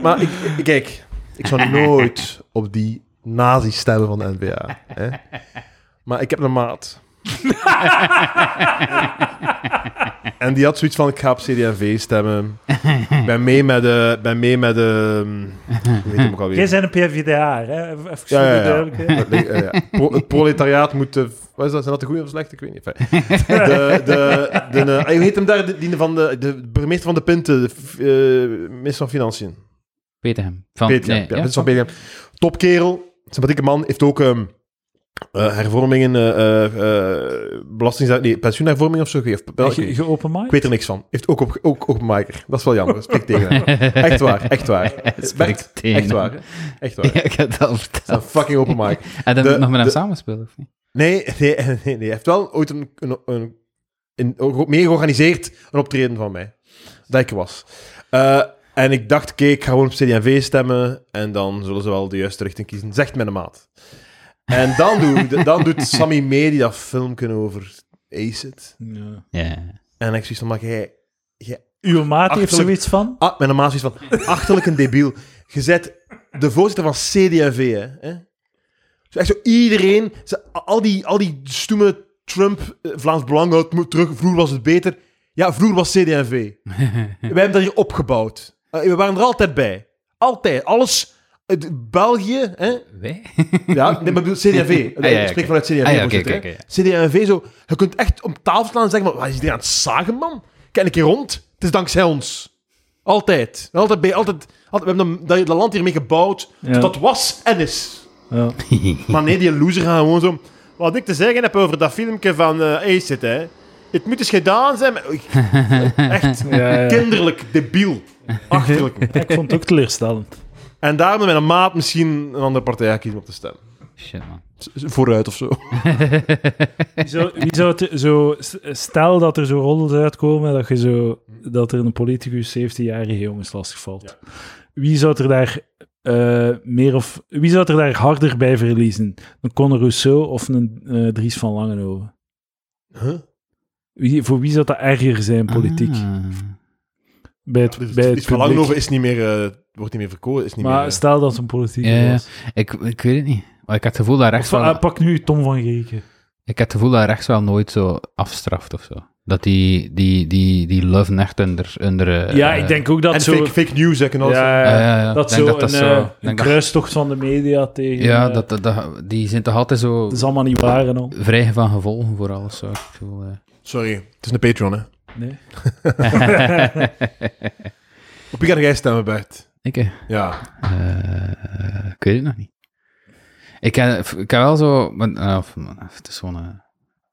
maar ik, ik- kijk, ik zou nooit op die nazi stemmen van de N-VA. Hè? Maar ik heb een maat. en die had zoiets van, ik ga op CD&V stemmen. Ik ben mee met de... ben mee met de... hm, Hoe heet hem ook alweer?
Jij bent een PvdA, hè? Even, even
Ja, ja, ja.
duidelijk. hè?
Dat ligt- eh, ja. Pro- het proletariaat moet... eh, wat is dat? Zijn dat de goede of slechte? Ik weet niet. Enfin, de, de, de, eh, hoe heet hem daar? De, die van de, de burgemeester van de Punten. De, f- eh, minister van Financiën.
Peter hem. Van,
Peter,
nee,
ja, Peter van Peter. Topkerel, sympathieke man, heeft ook ehm, eh, hervormingen, eh eh, eh, belasting, nee, pensioenhervorming of zo gegeven. Wel,
Ge-
ik-
Geopen
Ik
mic?
weet er niks van. Heeft ook op, ook op Miker. Dat is wel jammer. Spreek
<laughs>
tegen hem. Echt waar, echt waar.
Spreek
Bert,
tegen
Echt
hem.
waar. hè. Echt waar.
<laughs> Ja, ik heb het al verteld.
Dat is een fucking open mic.
En dan
De-
moet ik nog met hem
de-
samenspelen, of niet?
Nee, <laughs> nee, nee, nee. Hij heeft wel ooit een, een, een, een, mee georganiseerd een optreden van mij. Dat ik er was. Eh, en ik dacht, kijk, ik ga gewoon op CD&V stemmen en dan zullen ze wel de juiste richting kiezen. Zegt mijn maat. En dan, doe, dan doet Sammy mee die dat filmpje over Acid.
Ja.
Ja.
En ik zoiets van, maar jij... jij
Uw maat heeft er
Achterlijk-
zoiets van?
ah, mijn maat zoiets van, achterlijk een debiel. Je zet de voorzitter van CD&V, hè, hè? Zo echt zo iedereen, ze- al, die, al die stoeme Trump, eh, Vlaams Belang, het moet terug, vroeger was het beter. Ja, vroeger was CD&V. Wij hebben dat hier opgebouwd. Eh, we waren er altijd bij. Altijd. Alles. Het België, hè? <laughs>
Wij? <laughs>
Ja, nee, maar ik bedoel CD&V.
Ah, ja, ja,
ik spreek
oké.
vanuit CD&V.
Ah, ja, oké,
voorzitter,
oké,
hè. CD&V, zo, je kunt echt om tafel staan en zeggen, maar, wat is iedereen aan het zagen, man? Kijk een keer rond. Het is dankzij ons. Altijd. Altijd bij, altijd, altijd we hebben dat, dat land hiermee gebouwd.
Ja.
tot Dat was en is.
Ja.
Maar nee, die loser gaan gewoon zo... Wat ik te zeggen heb over dat filmpje van eh Acid, hè. Het moet eens gedaan zijn met...
<laughs>
Echt.
Ja, ja.
Kinderlijk, debiel. Achterlijk.
<laughs> Ik vond het ook teleurstellend.
En daarom met een maat misschien een andere partij gaan kiezen op te stemmen.
Shit, man.
Z- z- Vooruit of zo.
Wie zou, wie zou het zo... s- Stel dat er zo roddels uitkomen dat, je zo,
Hmm.
dat er een politicus 17-jarige jongens lastigvalt. Wie zou het er daar... eh, meer of, wie zou het er daar harder bij verliezen? Een Conor Rousseau of een eh, Dries van Langenhoven?
Huh?
Wie, voor wie zou dat erger zijn, politiek?
Ah.
Bij het, bij het
Iets dus van
publiek.
Langenhoven is niet meer, eh, wordt niet meer verkozen. Is niet meer,
Maar
eh,
stel dat het een politiek
Ja, ja.
was.
Ik, ik weet het niet. Maar ik heb het gevoel dat rechts
Of, eh,
wel...
pak nu Tom van Grieken.
Ik heb het gevoel dat rechts wel nooit zo afstraft of zo. Dat die, die, die, die love echt onder... onder eh,
ja,
eh,
ik denk ook dat
en
zo...
fake, fake news hè, en
ja,
alles.
ja,
ja,
ja, ja.
dat
Ik denk
zo
dat
een,
zo-
eh,
ik
een
denk dat-
kruistocht van de media tegen...
Ja,
eh,
dat, dat, dat- die zijn toch altijd zo
Dat is allemaal niet waar en al.
vrij van gevolgen voor alles. Zo. Ik
<laughs>
bedoel, eh.
Sorry, het is een Patreon, hè.
Nee.
Op wie ga jij stemmen, Bert?
ik, eh,
Ja.
eh, ik weet het nog niet. Ik heb, ik heb wel zo... maar, eh, of, maar, het is gewoon... eh,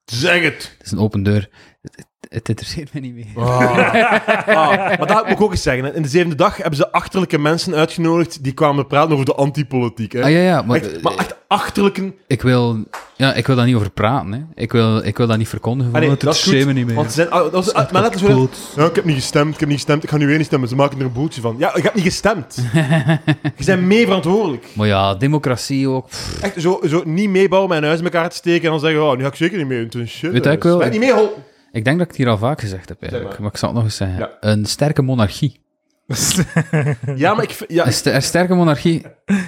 Zeg het!
het is een open deur. Het, het- het interesseert me niet meer.
Ah. maar dat moet ik ook eens zeggen. hè. In de zevende dag hebben ze achterlijke mensen uitgenodigd die kwamen praten over de antipolitiek. Hè.
Ah, ja, ja, maar,
echt, maar echt achterlijke...
ik, wil, ja, ik wil daar niet over praten. Hè. Ik, wil, ik wil dat niet verkondigen,
Ah, nee,
want het
dat is
interesseert me niet meer.
goed, Want ze zijn, ah, dat was, ah, maar net zo... Ja, ik heb niet gestemd, ik heb niet gestemd, ik ga nu weer niet stemmen. Ze maken er een boeltje van. Ja, ik heb niet
<laughs>
gestemd. Je bent mee verantwoordelijk.
Maar ja, democratie ook. pff,
Echt zo, zo niet meebouwen, mijn huis in elkaar te steken en dan zeggen, oh, nu ga ik zeker niet mee. Het is een shit.
Weet je wat ik wil?
Maar niet mee, hol.
ik denk dat ik het hier al vaak gezegd heb, eigenlijk.
Zeg
maar.
maar.
ik zal het nog eens zeggen.
Ja.
Een sterke monarchie.
Ja, maar ik... vind- Ja,
Een, ster- een sterke monarchie,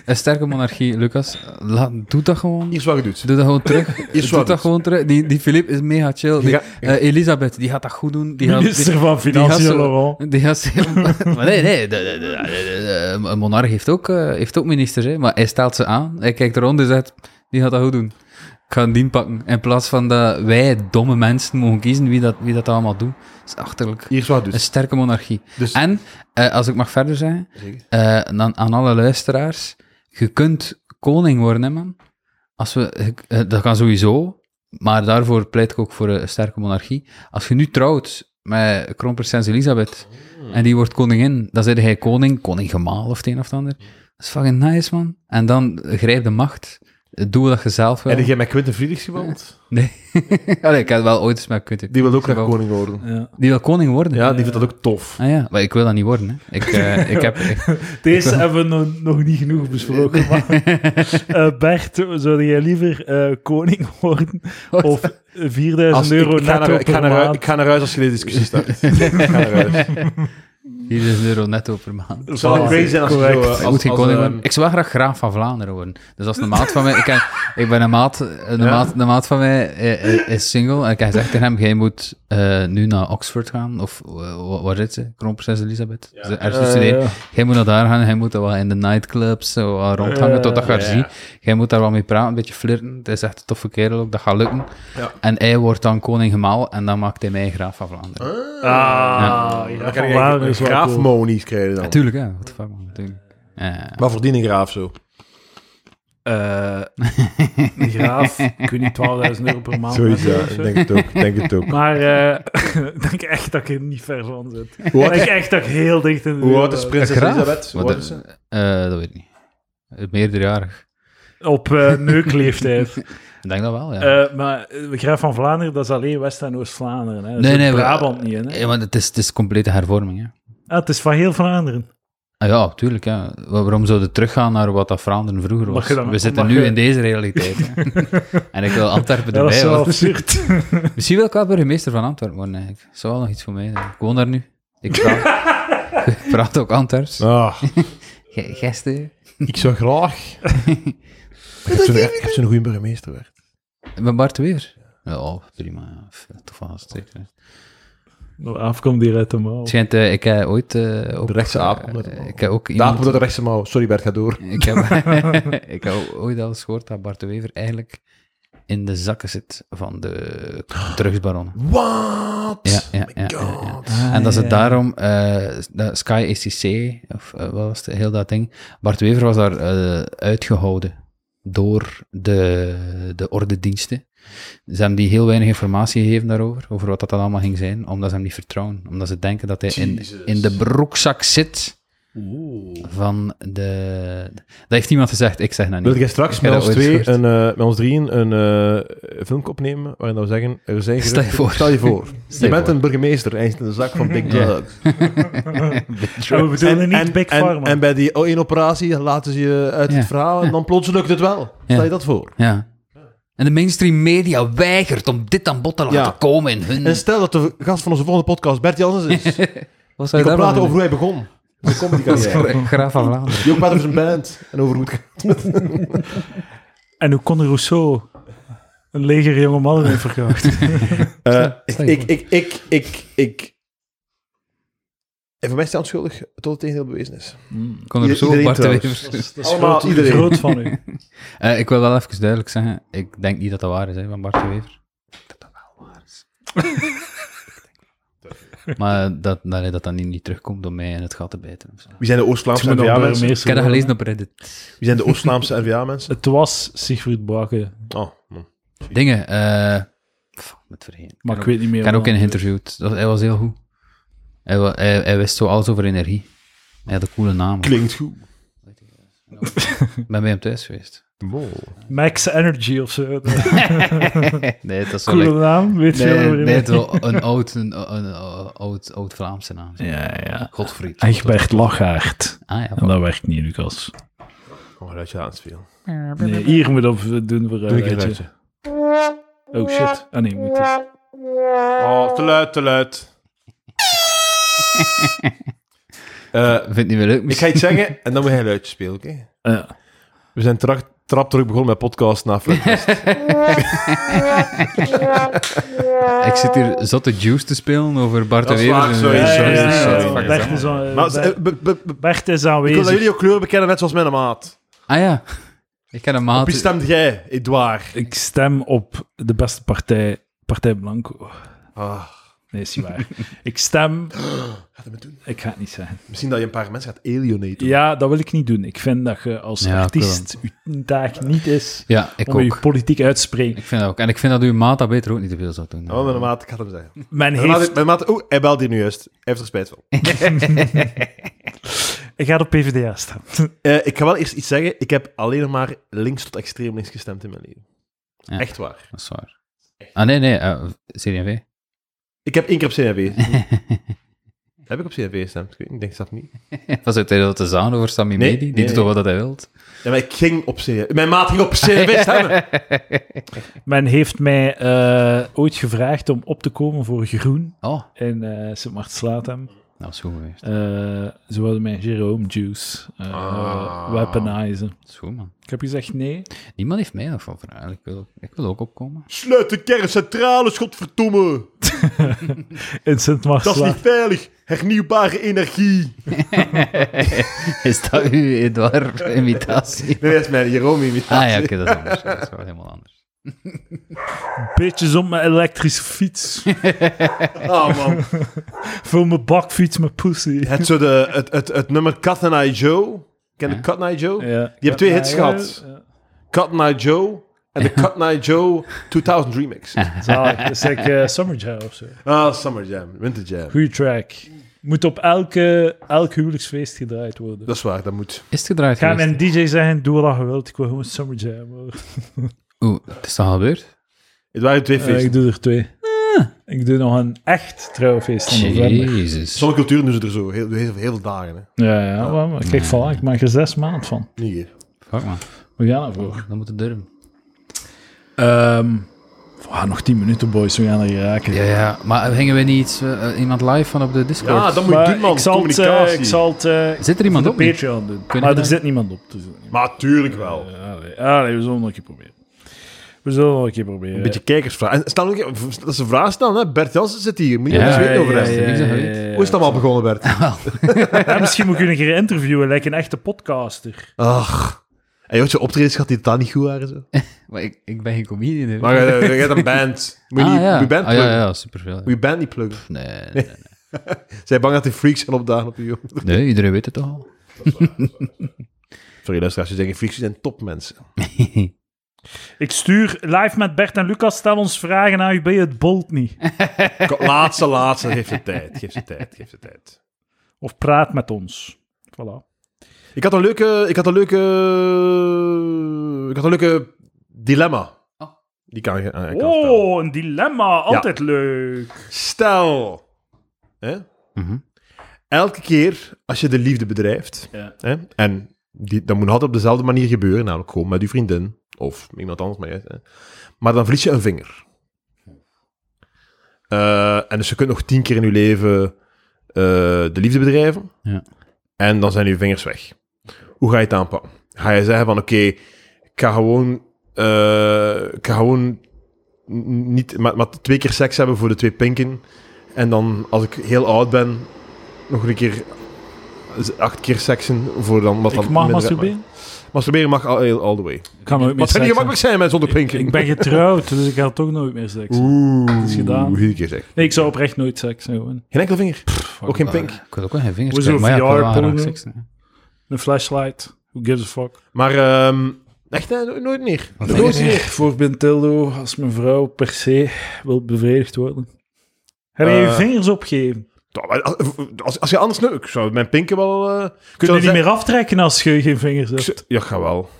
een sterke monarchie, Lucas. Laat, doe dat gewoon.
hier is wat je doet.
Doe dat gewoon
<laughs>
terug.
Is
doe
wat.
dat gewoon terug. Die, die Filip is mega chill. Die,
Ja, ja.
eh, Elisabeth, die gaat dat goed doen. Die gaat, die,
Minister van Financiën,
zo-
Laurent.
die gaat ze- maar nee, nee. de- de- de- de- de- de- een monarch heeft ook, eh, heeft ook ministers, hè, maar hij stelt ze aan. Hij kijkt rond en zegt, die gaat dat goed doen. Ik ga die pakken. In plaats van dat wij domme mensen mogen kiezen wie dat, wie dat allemaal doet. Dat is achterlijk.
Hier is wat dus.
Een sterke monarchie.
Dus-
En, eh, als ik mag verder zeggen,
Zeker.
eh, dan aan alle luisteraars, je kunt koning worden, hè, man. Als we, eh, dat kan sowieso, maar daarvoor pleit ik ook voor een sterke monarchie. Als je nu trouwt met kroonprinses Elisabeth
Hmm.
en die wordt koningin, dan zit hij koning, koninggemaal of het een of het ander. Dat is fucking nice, man. En dan grijp de macht. Doe wat je zelf wil.
En jij met Quinten Friedrichs geweld?
Nee. <laughs> Allee, ik had wel ooit eens met Quinten.
Die wil ook naar
Wel.
koning worden.
Ja.
Die wil koning worden.
Ja, die vindt dat ook tof.
Ah ja, maar ik wil dat niet worden. Hè. Ik, eh, ik heb... <laughs> ik-
Deze hebben we nog, nog niet genoeg
<laughs>
besproken. Maar, eh, Bert, zou jij liever eh, koning worden of 4000
Als- ik-
euro
ik, ga
netto
naar, ik, ga
per
naar, hui- ik
maand?
ga naar huis als je deze discussie
<laughs>
start. ik ga naar huis.
Hier is een euro netto per maand.
Het zou wel
Voilà.
crazy zijn als je zo...
Correct.
eh,
Ik
als-
moet geen
als,
koning
ehm,
worden. Ik zou wel graag graaf van Vlaanderen worden. Dus als een maat van mij... Ik, heb- ik ben een maat... Een,
Ja.
maat, een maat van mij eh, eh, is single. En ik heb gezegd tegen hem, jij moet eh, nu naar Oxford gaan. Of eh, wat waar zit ze? Kroonprinses Elisabeth? Ze- Ergens
Eh,
studeren.
ja.
Jij moet naar daar gaan. Jij moet daar wel in de nightclubs zo wat rondhangen
Ja.
totdat je haar
Ja.
ziet. Jij moet daar wel mee praten, een beetje flirten. Het is echt een toffe kerel ook. Dat gaat lukken.
Ja.
En hij wordt dan koning gemaal. En dan maakt hij mij graaf van Vlaanderen.
Oh.
Ah, ja.
Dan
Van
kan je
Waren
een
is wel cool.
graafmonies krijgen dan.
Natuurlijk, ja. Wat de fuck, man. Natuurlijk. Ja.
Wat verdient een graaf zo?
Eh, een
<laughs>
graaf, ik weet niet, 12.000 euro per maand.
Zoiets,
netto
ja.
of zo.
Ik denk het ook. ik Denk het ook.
<laughs> Maar eh, <laughs> ik denk echt dat ik er niet ver van zit. Ik
Hoe
denk
oud-
echt dat ik heel dicht in de
hoe oud
wereld
is prinses
Graaf?
Elisabeth? Hoe
Wat
oud is ze?
Eh, dat weet ik niet. Eh, Meerderjarig.
ben. Op eh, neukleeftijd.
Ik denk dat wel, ja.
Eh, maar eh, Graaf van Vlaanderen, dat is alleen West- en Oost-Vlaanderen. hè. Dat
Nee,
nee,
nee,
nee,
we- Eh,
Brabant niet, hè.
Ja, maar het is, het is complete hervorming, hè.
Ah, het is van heel Vlaanderen.
Ah, ja, tuurlijk, ja. Wa- Waarom zouden we teruggaan naar wat dat Vlaanderen vroeger
Mag
was?
je dan-
we zitten
mag
nu
je-
in deze realiteit,
<laughs>
hè. En ik wil Antwerpen
Ja, dat is
erbij,
zo
hoor.
absurd.
<laughs> Misschien wil ik wel burgemeester van Antwerpen worden, eigenlijk. Zou wel nog iets voor mij zijn. Ik woon daar nu. Ik
<laughs>
praat, ik praat ook Antwerps.
Ah,
Ge- Gisteren...
ik zou graag... Maar je hebt zo'n- je hebt zo'n goede burgemeester werd.
Met Bart Weer. Ja, prima. ja. F- Toch wel zeker. hè.
Nou, afkomt hier uit de mouw.
Het schijnt, eh, ik heb ooit... eh, ook,
De rechtse aap.
eh,
omdat-
ik heb ook
De aap
iemand...
door de rechtse mouw. Sorry Bert, ga door.
Ik heb,
<laughs>
ik heb ooit al eens gehoord dat Bart de Wever eigenlijk in de zakken zit van de drugsbaronnen.
Wat? Oh
Ja, ja, ja, ja, ja.
Ah,
En dat ze
Ah,
daarom, eh, dat Sky ACC, of eh, wat was het, heel dat ding, Bart de Wever was daar eh, uitgehouden door de, de ordendiensten. Ze hebben die heel weinig informatie gegeven daarover, over wat dat dan allemaal ging zijn, omdat ze hem niet vertrouwen. Omdat ze denken dat hij in,
Jezus.
in de broekzak zit
Oeh.
van de... Dat heeft niemand gezegd, ik zeg dat niet.
Wil jij straks
Ik heb
met
dat
ons,
ooit
twee
gehoord.
een, eh, met ons drieën een eh filmpje opnemen waarin dat we zeggen, er zijn
Stel je
geruchten-
voor.
Stel je voor.
<laughs> Stel
je
je
bent
voor.
een burgemeester en je zit in de zak van
<laughs> Ja.
Big Drugs.
En Dus we bedoelen niet Big Pharma.
En, en bij die oh, één operatie laten ze je uit
Ja.
het verhaal en dan plots lukt het wel. Stel je dat voor.
Ja. En de mainstream media weigert om dit aan bod te laten
Ja.
komen in hun...
En stel dat de gast van onze volgende podcast Bert Janssens
<laughs>
is. Die
Wat zou
gaat praten over hoe hij begon. De <laughs> comedy carrière.
Graaf van <laughs> Vlaanderen.
Die ook praat over zijn band en over hoe het
En hoe kon Rousseau een leger jonge mannen heeft
<laughs>
verkracht?
Eh,
Stel je
ik,
voor.
ik, ik, ik, ik. En voor mij is het onschuldig tot het tegendeel bewezen is.
Kon er
I-
zo
iedereen
Bart de
trouwens.
Wever. <laughs>
Dat is
<laughs> Allemaal
groot,
iedereen.
groot
<laughs>
van u.
Eh, ik wil wel even duidelijk zeggen, ik denk niet dat dat waar is hè, van Bart de Wever. Dat dat wel waar is. <laughs> maar dat, dat, dat dan niet, niet terugkomt om mij in het gat te bijten. of zo.
Wie zijn de Oost-Vlaamse NVA-mensen?
Ik heb dat gelezen op Reddit.
Wie zijn de
<laughs>
Oost-Vlaamse NVA-mensen?
Het was Siegfried Brake,
Oh, man.
Dingen, eh... fuck, met vergeten.
maar ik weet niet meer.
Ik heb ook
wat
in
het is.
geïnterviewd. Dat, hij was heel goed. Hij, wa- hij, hij wist zo alles over energie. Hij had een coole naam.
Klinkt goed.
Ik ben bij hem thuis geweest.
Wow.
Max Energy of zo. Dat-
<laughs> nee, dat is zo
Coole
lekker.
naam, weet je
Nee,
wel.
nee, het is wel een oud, een, een, een oud, oud Vlaamse naam.
Ja, ja. Ah,
Godfried.
Egbert Lachaert.
Ah ja,
En dat werkt niet, Lucas.
Oh, dat je aan het spelen.
Nee, hier moet dat doen voor
Doe ik een
eh,
geluidje.
Oh shit. Ah nee, moet het.
Oh, te luid, te luid.
<laughs>
Eh,
vindt niet meer leuk.
ik ga iets zeggen en dan moet jij een luidje spelen, oké?
Eh,
We zijn tra trap terug begonnen met podcast
<laughs>
na Flatfest.
Ik zit hier zotte juice te spelen over Bart de
Dat is
Wever.
waar, sorry,
ja, ja,
sorry,
ja, ja,
sorry,
ja,
sorry.
Bert is aan-
Maar, eh,
Bert-
be- be- be-
Bert is
ik wil dat
aanwezig.
jullie ook kleuren bekennen, net zoals mijn maat.
Ah ja. Ik ken een
Op
maat.
wie stemt jij, Edouard?
Ik stem op de beste partij, Partij Blanco.
Ah,
Nee, is niet waar. ik stem...
gaat het me doen?
Ik ga het niet zeggen.
Misschien dat je een paar mensen gaat alienaten.
Ja, dat wil ik niet doen. Ik vind dat je als
Ja,
artiest je taak niet is
Ja, ik
om
ook.
je politiek uit te spreken.
Ik vind dat ook. En ik vind dat uw maat dat beter ook niet te veel zou doen.
Oh, mijn maat, ik ga het hem zeggen.
Men
Mijn maat,
heeft...
mijn maat, oeh, hij belt hier nu juist. Hij heeft er spijt van.
Ik ga op PvdA staan.
Eh, ik ga wel eerst iets zeggen. Ik heb alleen nog maar links tot extreem links gestemd in mijn leven.
Ja.
Echt waar.
Dat is waar. Ah, nee, nee. eh, CDV.
Ik heb één keer op CNV gestemd. heb ik op CNV gestemd? Ik, weet niet, ik denk dat niet.
<laughs> Was het heel te zaan over Sammy
Nee,
Medi? Die
nee,
doet
nee.
toch wat hij wilt?
Ja, maar ik ging op CNV. Mijn maat ging op
<laughs>
CNV stemmen.
Men heeft mij eh, ooit gevraagd om op te komen voor Groen
Oh,
in eh sint maarten
dat was goed geweest.
Eh, ze wilden mij Jerome Juice eh,
Ah.
weaponizen.
Dat is goed, man.
Ik heb gezegd nee.
Niemand heeft mij nog van vragen. Ik wil, ik wil ook opkomen.
Sluit de kerncentrales, godverdomme.
In sint
Dat is niet
maarten
veilig. Hernieuwbare energie.
<laughs> Is dat uw Edouard-imitatie?
Nee, dat is mijn Jerome-imitatie.
<laughs> Ah ja, oké, dat is <laughs> anders. Dat is wel helemaal anders.
Bitches op mijn elektrische
<laughs>
fiets.
<laughs> Oh, man.
Vul mijn bakfiets met pussy.
Het, zo de, het, het, het nummer Cat and I Joe. Ken je
Ja.
Cat and I Joe?
Ja.
Die hebt twee hits
Ja,
gehad.
ja.
Cat and I Joe en de Cat and I Joe 2000 remix.
Zalig. Dat is like eh, Summer Jam of zo.
Ah, Summer Jam, Winter Jam.
Goeie track. Moet op elke, elk huwelijksfeest gedraaid worden.
Dat is waar, dat moet.
Is het gedraaid
Ga
geweest?
mijn DJ zeggen, doe wat je wilt. Ik wil gewoon Summer Jam. hoor.
Oeh, het is al gebeurd?
Het waren twee
Eh,
feesten.
ik doe er twee. Ik doe nog een echt trouwfeest in november.
Jezus.
Sommige culturen doen ze er zo, heel, heel, heel veel dagen. Hè.
Ja, ja. Maar, maar kijk, voilà, ik maak er zes maanden van.
Niet hier.
Fuck, man.
We gaan
Oh.
ervoor.
Dan moet het durven.
Ehm, voilà, nog tien minuten, boys. We gaan er raken.
Ja, ja. Maar gingen we niet iets, eh, iemand live van op de Discord?
Ja, dat moet je
Maar
doen, man.
ik zal het, eh,
Communicatie.
ik zal het eh,
Zit er iemand
op
op? niet?
Patreon doen.
we
maar er
dat?
zit niemand op. Dus...
Maar tuurlijk wel. Een
Ja, nee. Ah, nee, we zullen nog een keer proberen. We zullen nog een keer proberen. Een
beetje kijkersvraag. En stel ook, dat is een vraag stellen, hè. Bert Jansen zit hier. Moet je
Ja,
niks weten over
ja,
hem.
ja, ja.
Hoe is het allemaal begonnen, Bert?
Ja, misschien moet ik u een keer interviewen, lijkt een echte podcaster.
Ach. En je had je optredens gehad die totaal niet goed waren. Zo.
Maar ik, ik ben geen comedian. hè.
Maar eh, je hebt een band. Moet je,
ah,
niet-
ja.
moet je band
ah, ja,
pluggen.
ja, superveel.
Moet je band niet pluggen.
Nee, nee, nee.
Zij bang dat die freaks gaan opdagen op je.
Nee, iedereen weet het toch al.
Sorry, luisteraars. Je zegt, freaks zijn topmensen.
Ik stuur live met Bert en Lucas, stel ons vragen aan u bij het Bolt niet.
Ko- Laatste, laatste. Geef ze tijd. Geef ze tijd. Geef ze tijd.
Of praat met ons. Voilà.
Ik had een leuke... Ik had een leuke... Ik had een leuke dilemma.
Oh.
Die kan je aan
Oh, een dilemma. Altijd leuk.
Stel. Hè?
Mhm.
Elke keer als je de liefde bedrijft...
Ja.
Hè? En die, dat moet altijd op dezelfde manier gebeuren. Namelijk gewoon met je vriendin. Of iemand anders. Maar, jij- hè. maar dan verlies je een vinger. Eh, en dus je kunt nog tien keer in je leven eh, de liefde bedrijven.
Ja.
En dan zijn je vingers weg. Hoe ga je het aanpakken? Ga je zeggen van oké, ik ga gewoon... eh, ik ga gewoon n- niet, maar, maar twee keer seks hebben voor de twee pinken. En dan, als ik heel oud ben, nog een keer z- acht keer seksen voor dan wat
Ik
dan
mag
minder-
masturberen?
Masturberen mag all, all the way.
Ik ga nooit meer
Wat
seks
zou niet gemakkelijk zijn met zonder pinken?
Ik ben getrouwd, dus ik ga toch nooit meer seks.
Oeh,
is gedaan.
Iedere keer zeg.
Nee, ik zou oprecht nooit seks hebben. gewoon.
Geen enkel vinger. <laughs> Ook geen pink.
Ik wil ook wel geen vingers
Hoe is
krijgen,
het
maar ja, ik wil wel
VR-porno?
graag seks, hè.
Een flashlight. Who gives a fuck?
Maar ehm, echt, hè, no- nooit meer.
Wat
Nooit
nee,
meer.
Voor Bintildo, als mijn vrouw per se wil bevredigd worden. Heb je je
Eh,
vingers opgegeven?
Toch, maar Als, als, als je anders nu, ik zou mijn pinken wel. eh, ik
Kun je
zou
die niet
zeggen-
meer aftrekken als je geen vingers
ik
hebt?
zou- Ja, ga wel.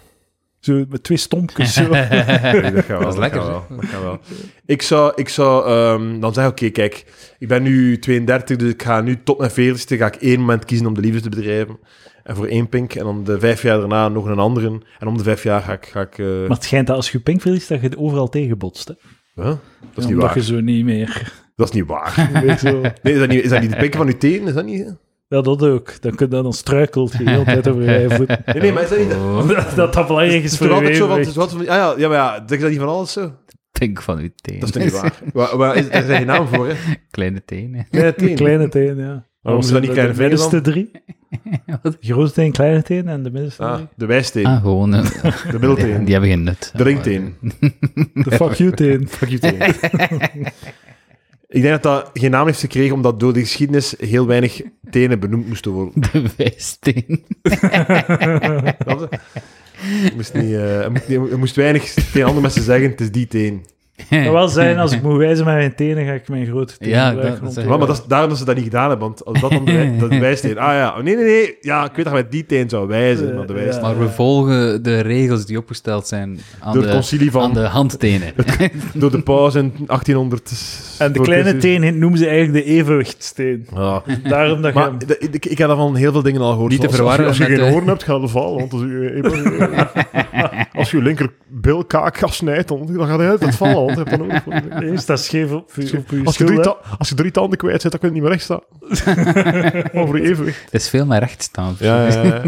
Zo met twee stompjes. <laughs> zo.
<laughs>
<laughs> Nee, dat gaat wel.
Dat is lekker,
gaat
zeg.
wel, dat gaat wel. Ik zou, ik zou ehm, dan zeggen, oké, kijk, ik ben nu 32, dus ik ga nu tot mijn 40ste, ga ik één moment kiezen om de liefde te bedrijven. En voor één pink. En dan de vijf jaar daarna nog een andere. En om de vijf jaar ga ik... Ga ik eh,
Maar het schijnt dat als je je pink verliest, dat je het overal tegenbotst. Hè?
huh? Dat is niet
Omdat
waar.
je zo niet meer.
Dat is <laughs> niet waar.
Weer zo.
Nee, is dat niet, is dat niet de pinken van uw teen? Is dat niet...
Ja, dat ook. Dan, kun, dan struikelt je de
<laughs>
hele tijd over je eigen voeten.
Nee, nee, maar is dat niet...
Oh,
Dat <laughs> dat dat belangrijk is
Het
voor
is
je
toch altijd zo van, het
evenwicht.
is altijd van, ah ja, ja, maar ja, zeg dat niet van alles zo?
Pink van uw teen.
<laughs> Dat is toch niet waar? Waar, waar is, daar zijn geen naam voor, hè?
<laughs> Kleine tenen.
Kleine teen.
Kleine teen, ja.
Waarom ze dat niet kleine
De
vingers
middenste
dan?
drie.
<laughs> Wat?
Grote teen, kleine teen en de middenste
Ah,
drie.
de wijsteen,
Ah, gewoon. eh,
de middelteen,
die hebben geen nut.
de ringteen.
De fuck you teen.
<laughs> Fuck
<laughs>
you, teen. Ik denk dat dat geen naam heeft gekregen omdat door de geschiedenis heel weinig tenen benoemd moesten worden.
De <laughs> wijsteen.
Snap je? Je moest, niet, eh, je moest niet- je moest weinig tegen andere mensen zeggen, het is die teen.
kan wel zijn, als ik moet wijzen met mijn tenen, ga ik mijn grote teen
Ja,
gebruiken
dat- dat
om te-
zeg ik
Maar, maar dat is daarom dat ze dat niet gedaan hebben, want als dat dan de, wij- dat de wijsteen... Ah ja, oh, nee, nee, nee, ja, ik weet dat je met die teen zou wijzen, maar de
Eh,
wijsteen...
ja.
Maar we volgen de regels die opgesteld zijn aan,
Door het
de,
concilie
aan
van...
de handtenen.
Door de paus in 1800...
En de
voor
kleine
Christus.
teen noemen ze eigenlijk de evenwichtsteen.
Ja.
Daarom dat je
Maar
hem-
de- ik, ik heb daarvan heel veel dingen al gehoord.
Niet te
Als-
verwarren eh,
Als je, als je
met
geen
de-
hoorn hebt, gaat het vallen. Want als je, als je je linkerbilkaak afsnijdt, dan, dan gaat hij uit het vallen. Want je hebt dan ook, <laughs>
Eerst dat scheef op, je- op je
als, je drie
schil, hè.
ta- als je drie tanden kwijt zit, dan kun je niet meer recht staan. Over je evenwicht.
Het is veel naar rechts staan.
Ja, ja,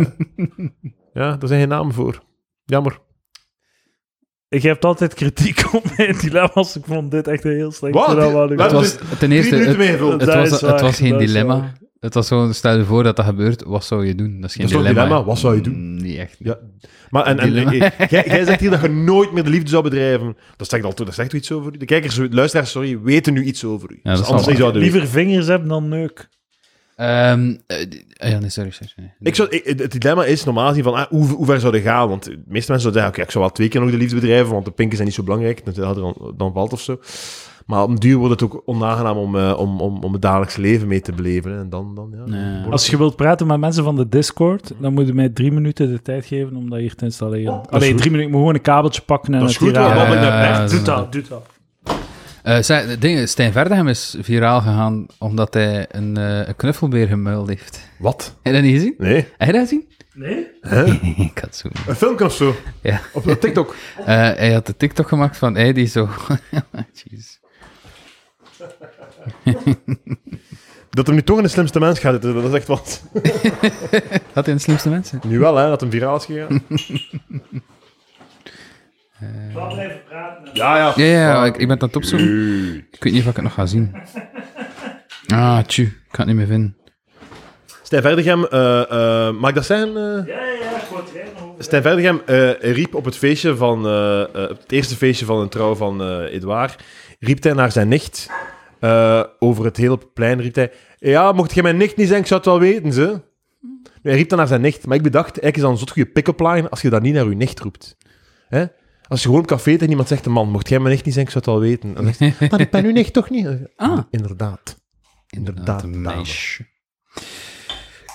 <laughs> daar zijn geen namen voor. Jammer.
Ik heb altijd kritiek <laughs> op mijn dilemma's. Ik vond dit echt een heel slecht
Wat?
dilemma.
Laat
Het
Dat
was ten eerste... Het,
meer, Roel.
het
Dat
was,
is
het
waar,
was geen
dat is
dilemma.
waar.
Het was gewoon, stel je voor dat dat gebeurt, wat zou je doen? Dat is geen
Dat is toch een
dilemma.
dilemma? Wat zou je doen?
Mm, Niet echt.
Ja. Maar en, en,
Dilemma.
eh, eh, jij, jij zegt hier dat je nooit meer de liefde zou bedrijven. Dat zegt al toe, dat zegt u iets over u. De kijkers, de luisteraars, sorry, weten nu iets over u.
dat is
dus anders
wel
niet
waar.
zouden weten.
Liever vingers hebben dan neuk.
Ehm, eh, d- ah ja, nee, sorry, sorry. sorry.
Ik zou, ik- het dilemma is normaal gezien van ah, hoe, hoe ver zou je gaan? Want de meeste mensen zouden zeggen, oké, ik zou wel twee keer nog de liefde bedrijven, want de pinken zijn niet zo belangrijk, dat hadden dan, dan valt of zo. Maar op een duur wordt het ook onaangenaam om, eh, om, om, om het dagelijks leven mee te beleven. hè. En dan, dan ja.
Nee.
wordt-
Als je wilt praten met mensen van de Discord, dan moet je mij drie minuten de tijd geven om dat hier te installeren.
is
Allee,
goed.
drie minuten. Ik moet gewoon een kabeltje pakken en
Dat is
het
goed,
hier aan-
hoor.
Ja, ja, ja,
echt.
ja.
Doe dat, doe dat.
Eh, zeg, de ding, Stijn Verdegem is viraal gegaan omdat hij een, eh, een knuffelbeer gemuild heeft.
Wat?
Heb je dat niet gezien?
Nee.
Heb je dat gezien? <laughs>
Nee?
ik had zo.
Een filmpje of zo?
Ja.
Op, op TikTok?
Eh, hij had de TikTok gemaakt van hij die zo. <laughs> Jeez.
Dat hem nu toch in de slimste mens gaat zitten, dat is echt wat. <laughs>
Had hij de slimste mensen?
Nu wel, hè, dat hem viraal is
<laughs>
gegaan.
blijven praten.
Ja, ja.
Ja, ja, ik, ik ben het aan het opzoeken. Ik weet niet of ik het nog ga zien. Ah, tju, ik kan het niet meer vinden.
Stijn Verdegem, eh, eh, mag ik dat zeggen? eh?
Ja, ja, goed. over.
Stijn Verdegem eh, riep op het feestje van eh, eh, op het eerste feestje van een trouw van eh Edouard, riep hij naar zijn nicht. eh, over het hele plein riep hij: Ja, mocht je mijn nicht niet zijn, ik zou het wel weten, ze. Nee, Hij riep dan naar zijn nicht. Maar ik bedacht, eigenlijk is dat een zo'n goede pick-up line als je dat niet naar je nicht roept. Hè? Als je gewoon op café zit en iemand zegt: Man, mocht jij mijn nicht niet zijn, ik zou het wel weten. En dan zegt hij, Maar ik ben uw nicht toch niet?
Ah.
Inderdaad. Inderdaad, nou.
een
dame.
meisje.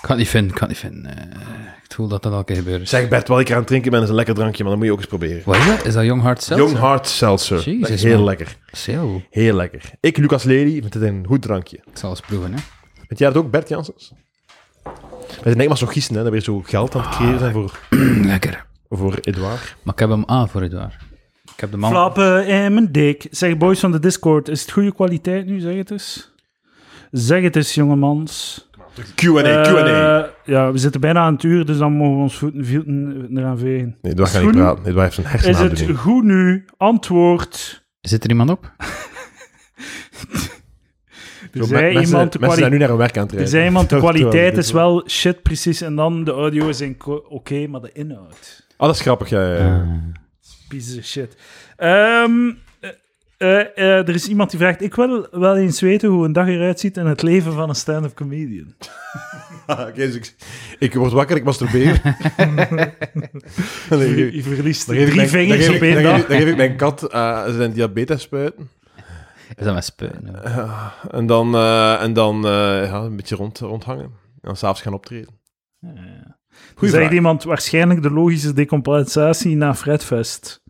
Ik kan het niet vinden, ik kan het niet vinden. Eh, ik voel dat dat elke keer gebeurt.
Zeg Bert, wat ik aan het drinken ben, is een lekker drankje, maar dat moet je ook eens proberen.
Wat is dat? Is dat Young Heart Seltzer?
Young Heart Seltzer.
Jezus,
Dat is heel
man.
lekker.
Zo,
Heel lekker. Ik, Lucas Lely, vind het een goed drankje.
ik zal eens proeven, hè. <clears throat>
Weet jij dat ook, Bert Janssens? Wij zijn echt maar zo gisten, hè. Dat we zo geld aan het creëren zijn voor,
Lekker.
voor Edouard.
Maar ik heb hem aan voor Edouard. Ik heb de man...
Flappen in mijn dik. Zeg, boys van de Discord, is het goede kwaliteit nu? Zeg het eens. Zeg het eens, jongemans.
Q&A, Q&A.
Eh, ja, we zitten bijna aan het uur, dus dan mogen we ons voeten voeten eraan vegen.
Nee, Edouard gaat niet
Schoen?
praten. Edouard heeft zijn
Is het
hersenaandoening.
goed nu? Antwoord.
Zit er iemand op?
Er
Dus
Zo, men-
zei
mensen,
iemand, de,
mensen zijn
kwali-
nu naar hun werk aan het
er
rijden. <laughs>
zei iemand, de
Terwijl we
kwaliteit
dit
is
doen.
wel shit precies en dan de audio is in ko- oké, maar de inhoud.
Ah, dat is grappig, ja. ja, <laughs> ja.
Eh,
Piece of shit. Ehm, eh, eh, eh, er is iemand die vraagt, ik wil wel eens weten hoe een dag eruit ziet in het leven van een stand-up comedian.
Oké, dus ik, ik word wakker, ik
<laughs>
masturbeer. nee,
Je,
ik-
je verliest
dan geef ik
drie
mijn- dan
vingers
geef ik-
op één
dan geef ik-
dag.
Dan geef ik mijn kat eh, zijn diabetes spuiten.
Is dat mijn speun?
Ja, en dan, eh, en dan eh, ja, een beetje rond, rondhangen. En dan s'avonds gaan optreden.
Goeie
Goeie
Zegt
vraag.
iemand, waarschijnlijk de logische decompensatie na Fredfest.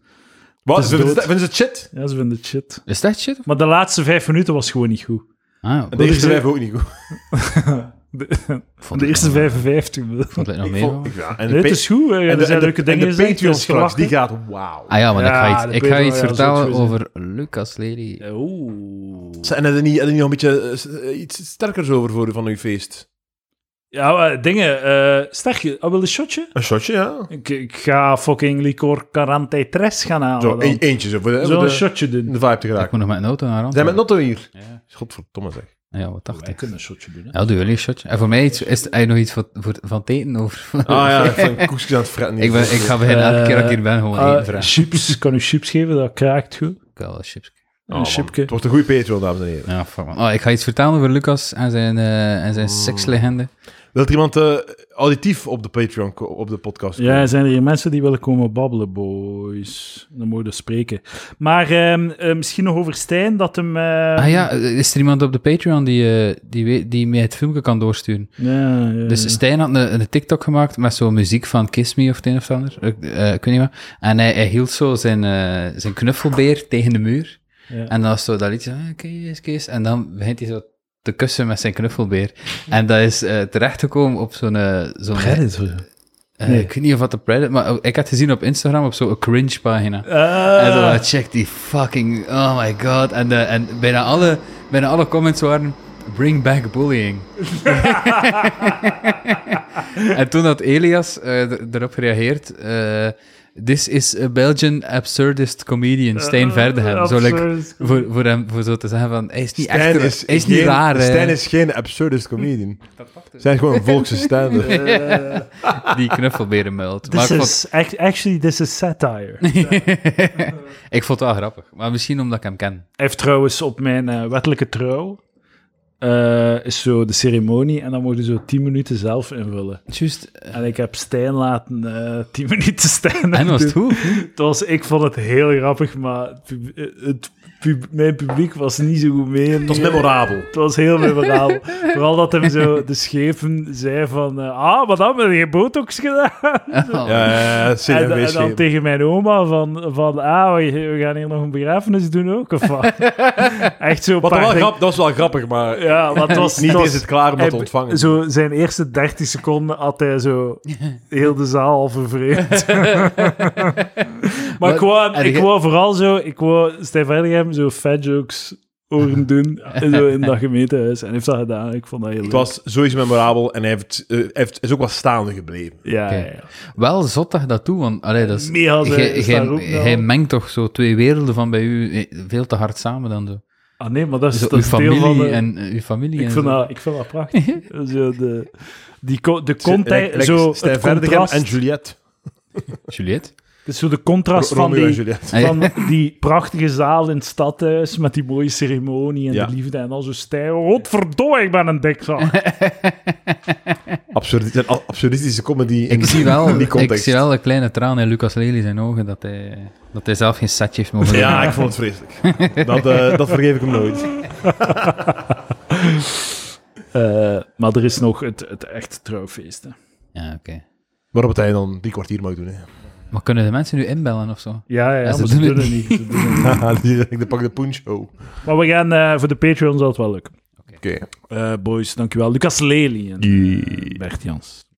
Wat?
Het is
Vinden ze
dood.
vinden ze het shit?
Ja, ze vinden het shit.
Is dat shit?
Maar de laatste vijf minuten was gewoon niet goed.
Ah,
En de eerste
is-
vijf ook niet goed.
De,
vond
de
ik
eerste
nog-
55.
Vond ik nog
Ik
mee?
vond-
wel.
ja,
En
de
het
pa-
is goed. hè.
en
Er
de-
zijn
en de-
leuke
en
dingen
de
gezegd, dus er
Patreon
is
straks, die
gelachen.
gaat wauw.
Ah ja, want
Ja,
ik ga
dat
iets, ik
weet
ga
ik
iets
wel, ja, zo
vertellen
het zo is,
over Lucas Lely.
Oeh.
En er niet, er niet nog een beetje eh, eh, iets sterkers over voor u van uw feest?
Ja, maar dingen. eh Sterkje, ah, wil je een shotje?
Een shotje, ja.
Ik, ik ga fucking licor 43 gaan halen.
Zo,
Zo,
een- eentje zo, voor de, voor
een
de,
shotje doen.
de vibe te
Ik
geraken.
moet nog met een auto naar
Zijn we met
Antwerpen.
Notto hier?
Ja.
Godverdomme zeg. Oh,
Ja, wat
Wij
80.
kunnen een shotje doen. Hè?
Ja, doe wel een shotje. En voor mij is, is er nog iets voor, voor, van teken over.
Ah ja, Oh, ik vind koekjes aan het fretten.
<laughs> ik, ben, ik ga beginnen elke keer dat ik hier ben gewoon één
Eh,
vraag.
chips, kan u chips geven? Dat kraakt
Oh,
goed.
Ik wil wel chips.
een
chipje.
chipje.
Het wordt een goede Patreon, dames en heren.
Ja, fuck man. Oh, ik ga iets vertellen over Lucas en zijn, eh, en zijn sekslegende.
Oh.
Wilt er iemand eh, auditief op de Patreon, ko- op de podcast komen?
Ja, zijn er hier mensen die willen komen babbelen, boys? Dan moet je dus spreken. Maar ehm, eh, misschien nog over Stijn, dat hem... eh,
Ah ja, is er iemand op de Patreon die, eh, die, weet- die mij het filmpje kan doorsturen?
ja, ja,
Dus Stijn had een, een TikTok gemaakt met zo'n muziek van Kiss Me of het een of het ander. Ik, eh, ik weet niet meer. En hij, hij hield zo zijn, eh, zijn knuffelbeer tegen de muur.
ja.
En dan is zo dat liedje, ah, Kiss, Kiss. En dan begint hij zo te kussen met zijn knuffelbeer. En dat is eh, terechtgekomen op zo'n... eh, zo'n eh,
Nee.
Ik weet niet of dat op Reddit... Maar ik had gezien op Instagram op zo'n cringe-pagina.
Ah.
En dan check die fucking, oh my god. En, eh, en bijna, alle, bijna alle comments waren, bring back bullying. en toen had Elias eh, d- erop gereageerd, eh, this is a Belgian absurdist comedian, Stijn Verdehem. Zo, like,
Eh, Absurd.
voor, voor hem voor zo te zeggen van, hij is niet
Stijn
echt,
is,
hij is niet
geen-
raar. hè.
Stijn is geen absurdist comedian. Zijn gewoon een volkse stand-up.
Die
<laughs>
knuffelberenmuilt. Maar
This
ik vond-
is, act- actually, this is satire.
ik vond het wel grappig. Maar misschien omdat ik hem ken.
Hij heeft trouwens op mijn eh, wettelijke trouw eh, is zo de ceremonie en dan mocht je zo 10 minuten zelf invullen.
Juist.
En ik heb Stijn laten eh 10 <laughs> minuten Stijn
En was het
doen.
goed?
Het was, ik vond het heel grappig, maar het pub- eh, het pub- mijn publiek was niet zo goed mee.
Dat is memorabel.
Het was heel memorabel. <laughs> Vooral dat hem zo de schepen zei van... eh, ah, madame, heb je botox gedaan?
Oh.
Ja, ja, ja,
En, en
serieus.
dan tegen mijn oma van... van ah, we, we gaan hier nog een begrafenis doen ook, of wat? Echt zo...
Wat
paar
wel
dingen-
grap, dat is wel grappig, maar
Ja, want het was...
niet
het was-
is het klaar om dat te
hij-
ontvangen.
Zo zijn eerste 30 seconden had hij
<laughs>
zo heel de zaal vervreemd. maar
Wat-
ik wou,
en
ik
je-
wou vooral zo, ik wou Stijn Verdegem zo fat jokes horen
<laughs>
doen en zo in dat gemeentehuis. En hij heeft dat gedaan. Ik vond dat heel leuk.
Het was sowieso memorabel en hij heeft, eh, hij heeft, is ook wel staande gebleven.
Ja,
Oké.
ja, ja.
Wel zot dat je dat doet, want allee, dat is...
Mia zei-
Jij-
is
jij-
daar ook nou-
jij mengt toch zo twee werelden van bij u eh, veel te hard samen dan zo.
Ah nee, maar dat is,
zo
dat
uw
is deel van
familie
de-
en eh, uw familie.
Ik
en
vind,
zo.
dat, ik vind dat
<laughs>
prachtig. zo de, die co- de
Lekker-
context,
lekker
zo
Stijn
het
Verdegem
contrast,
en Juliette.
Juliette?
het is zo de contrast van
Romeo en
die,
Juliette.
Ah, ja.
Van die prachtige zaal in het stadhuis met die mooie ceremonie en
Ja.
de liefde en al zo stijl. Godverdomme, ik ben een dikzak.
Absurdi- zijn al- absurdistische comedy in,
Ik
<laughs>
zie,
in
wel,
die
ik
context.
zie wel een kleine traan in Lucas Lely zijn ogen dat hij, dat hij zelf geen setje heeft mogen
Ja, ik vond het vreselijk.
<laughs>
Dat, eh, dat vergeef ik hem nooit.
Eh, maar er is nog het, het echte trouwfeest. hè.
doen. Ja, oké.
Waarop het hij dan drie kwartier mag doen. Hè.
Maar kunnen de mensen nu inbellen of zo?
Ja, ja,
Ja, ze
maar ze
doen
doen
het
het niet. ze doen het niet.
Haha, die- ik pak de punch-show. Oké.
Maar we gaan eh, voor de Patreon zal het wel lukken. Eh boys, dankjewel. Lucas Lely en
Die-
Bert Jans.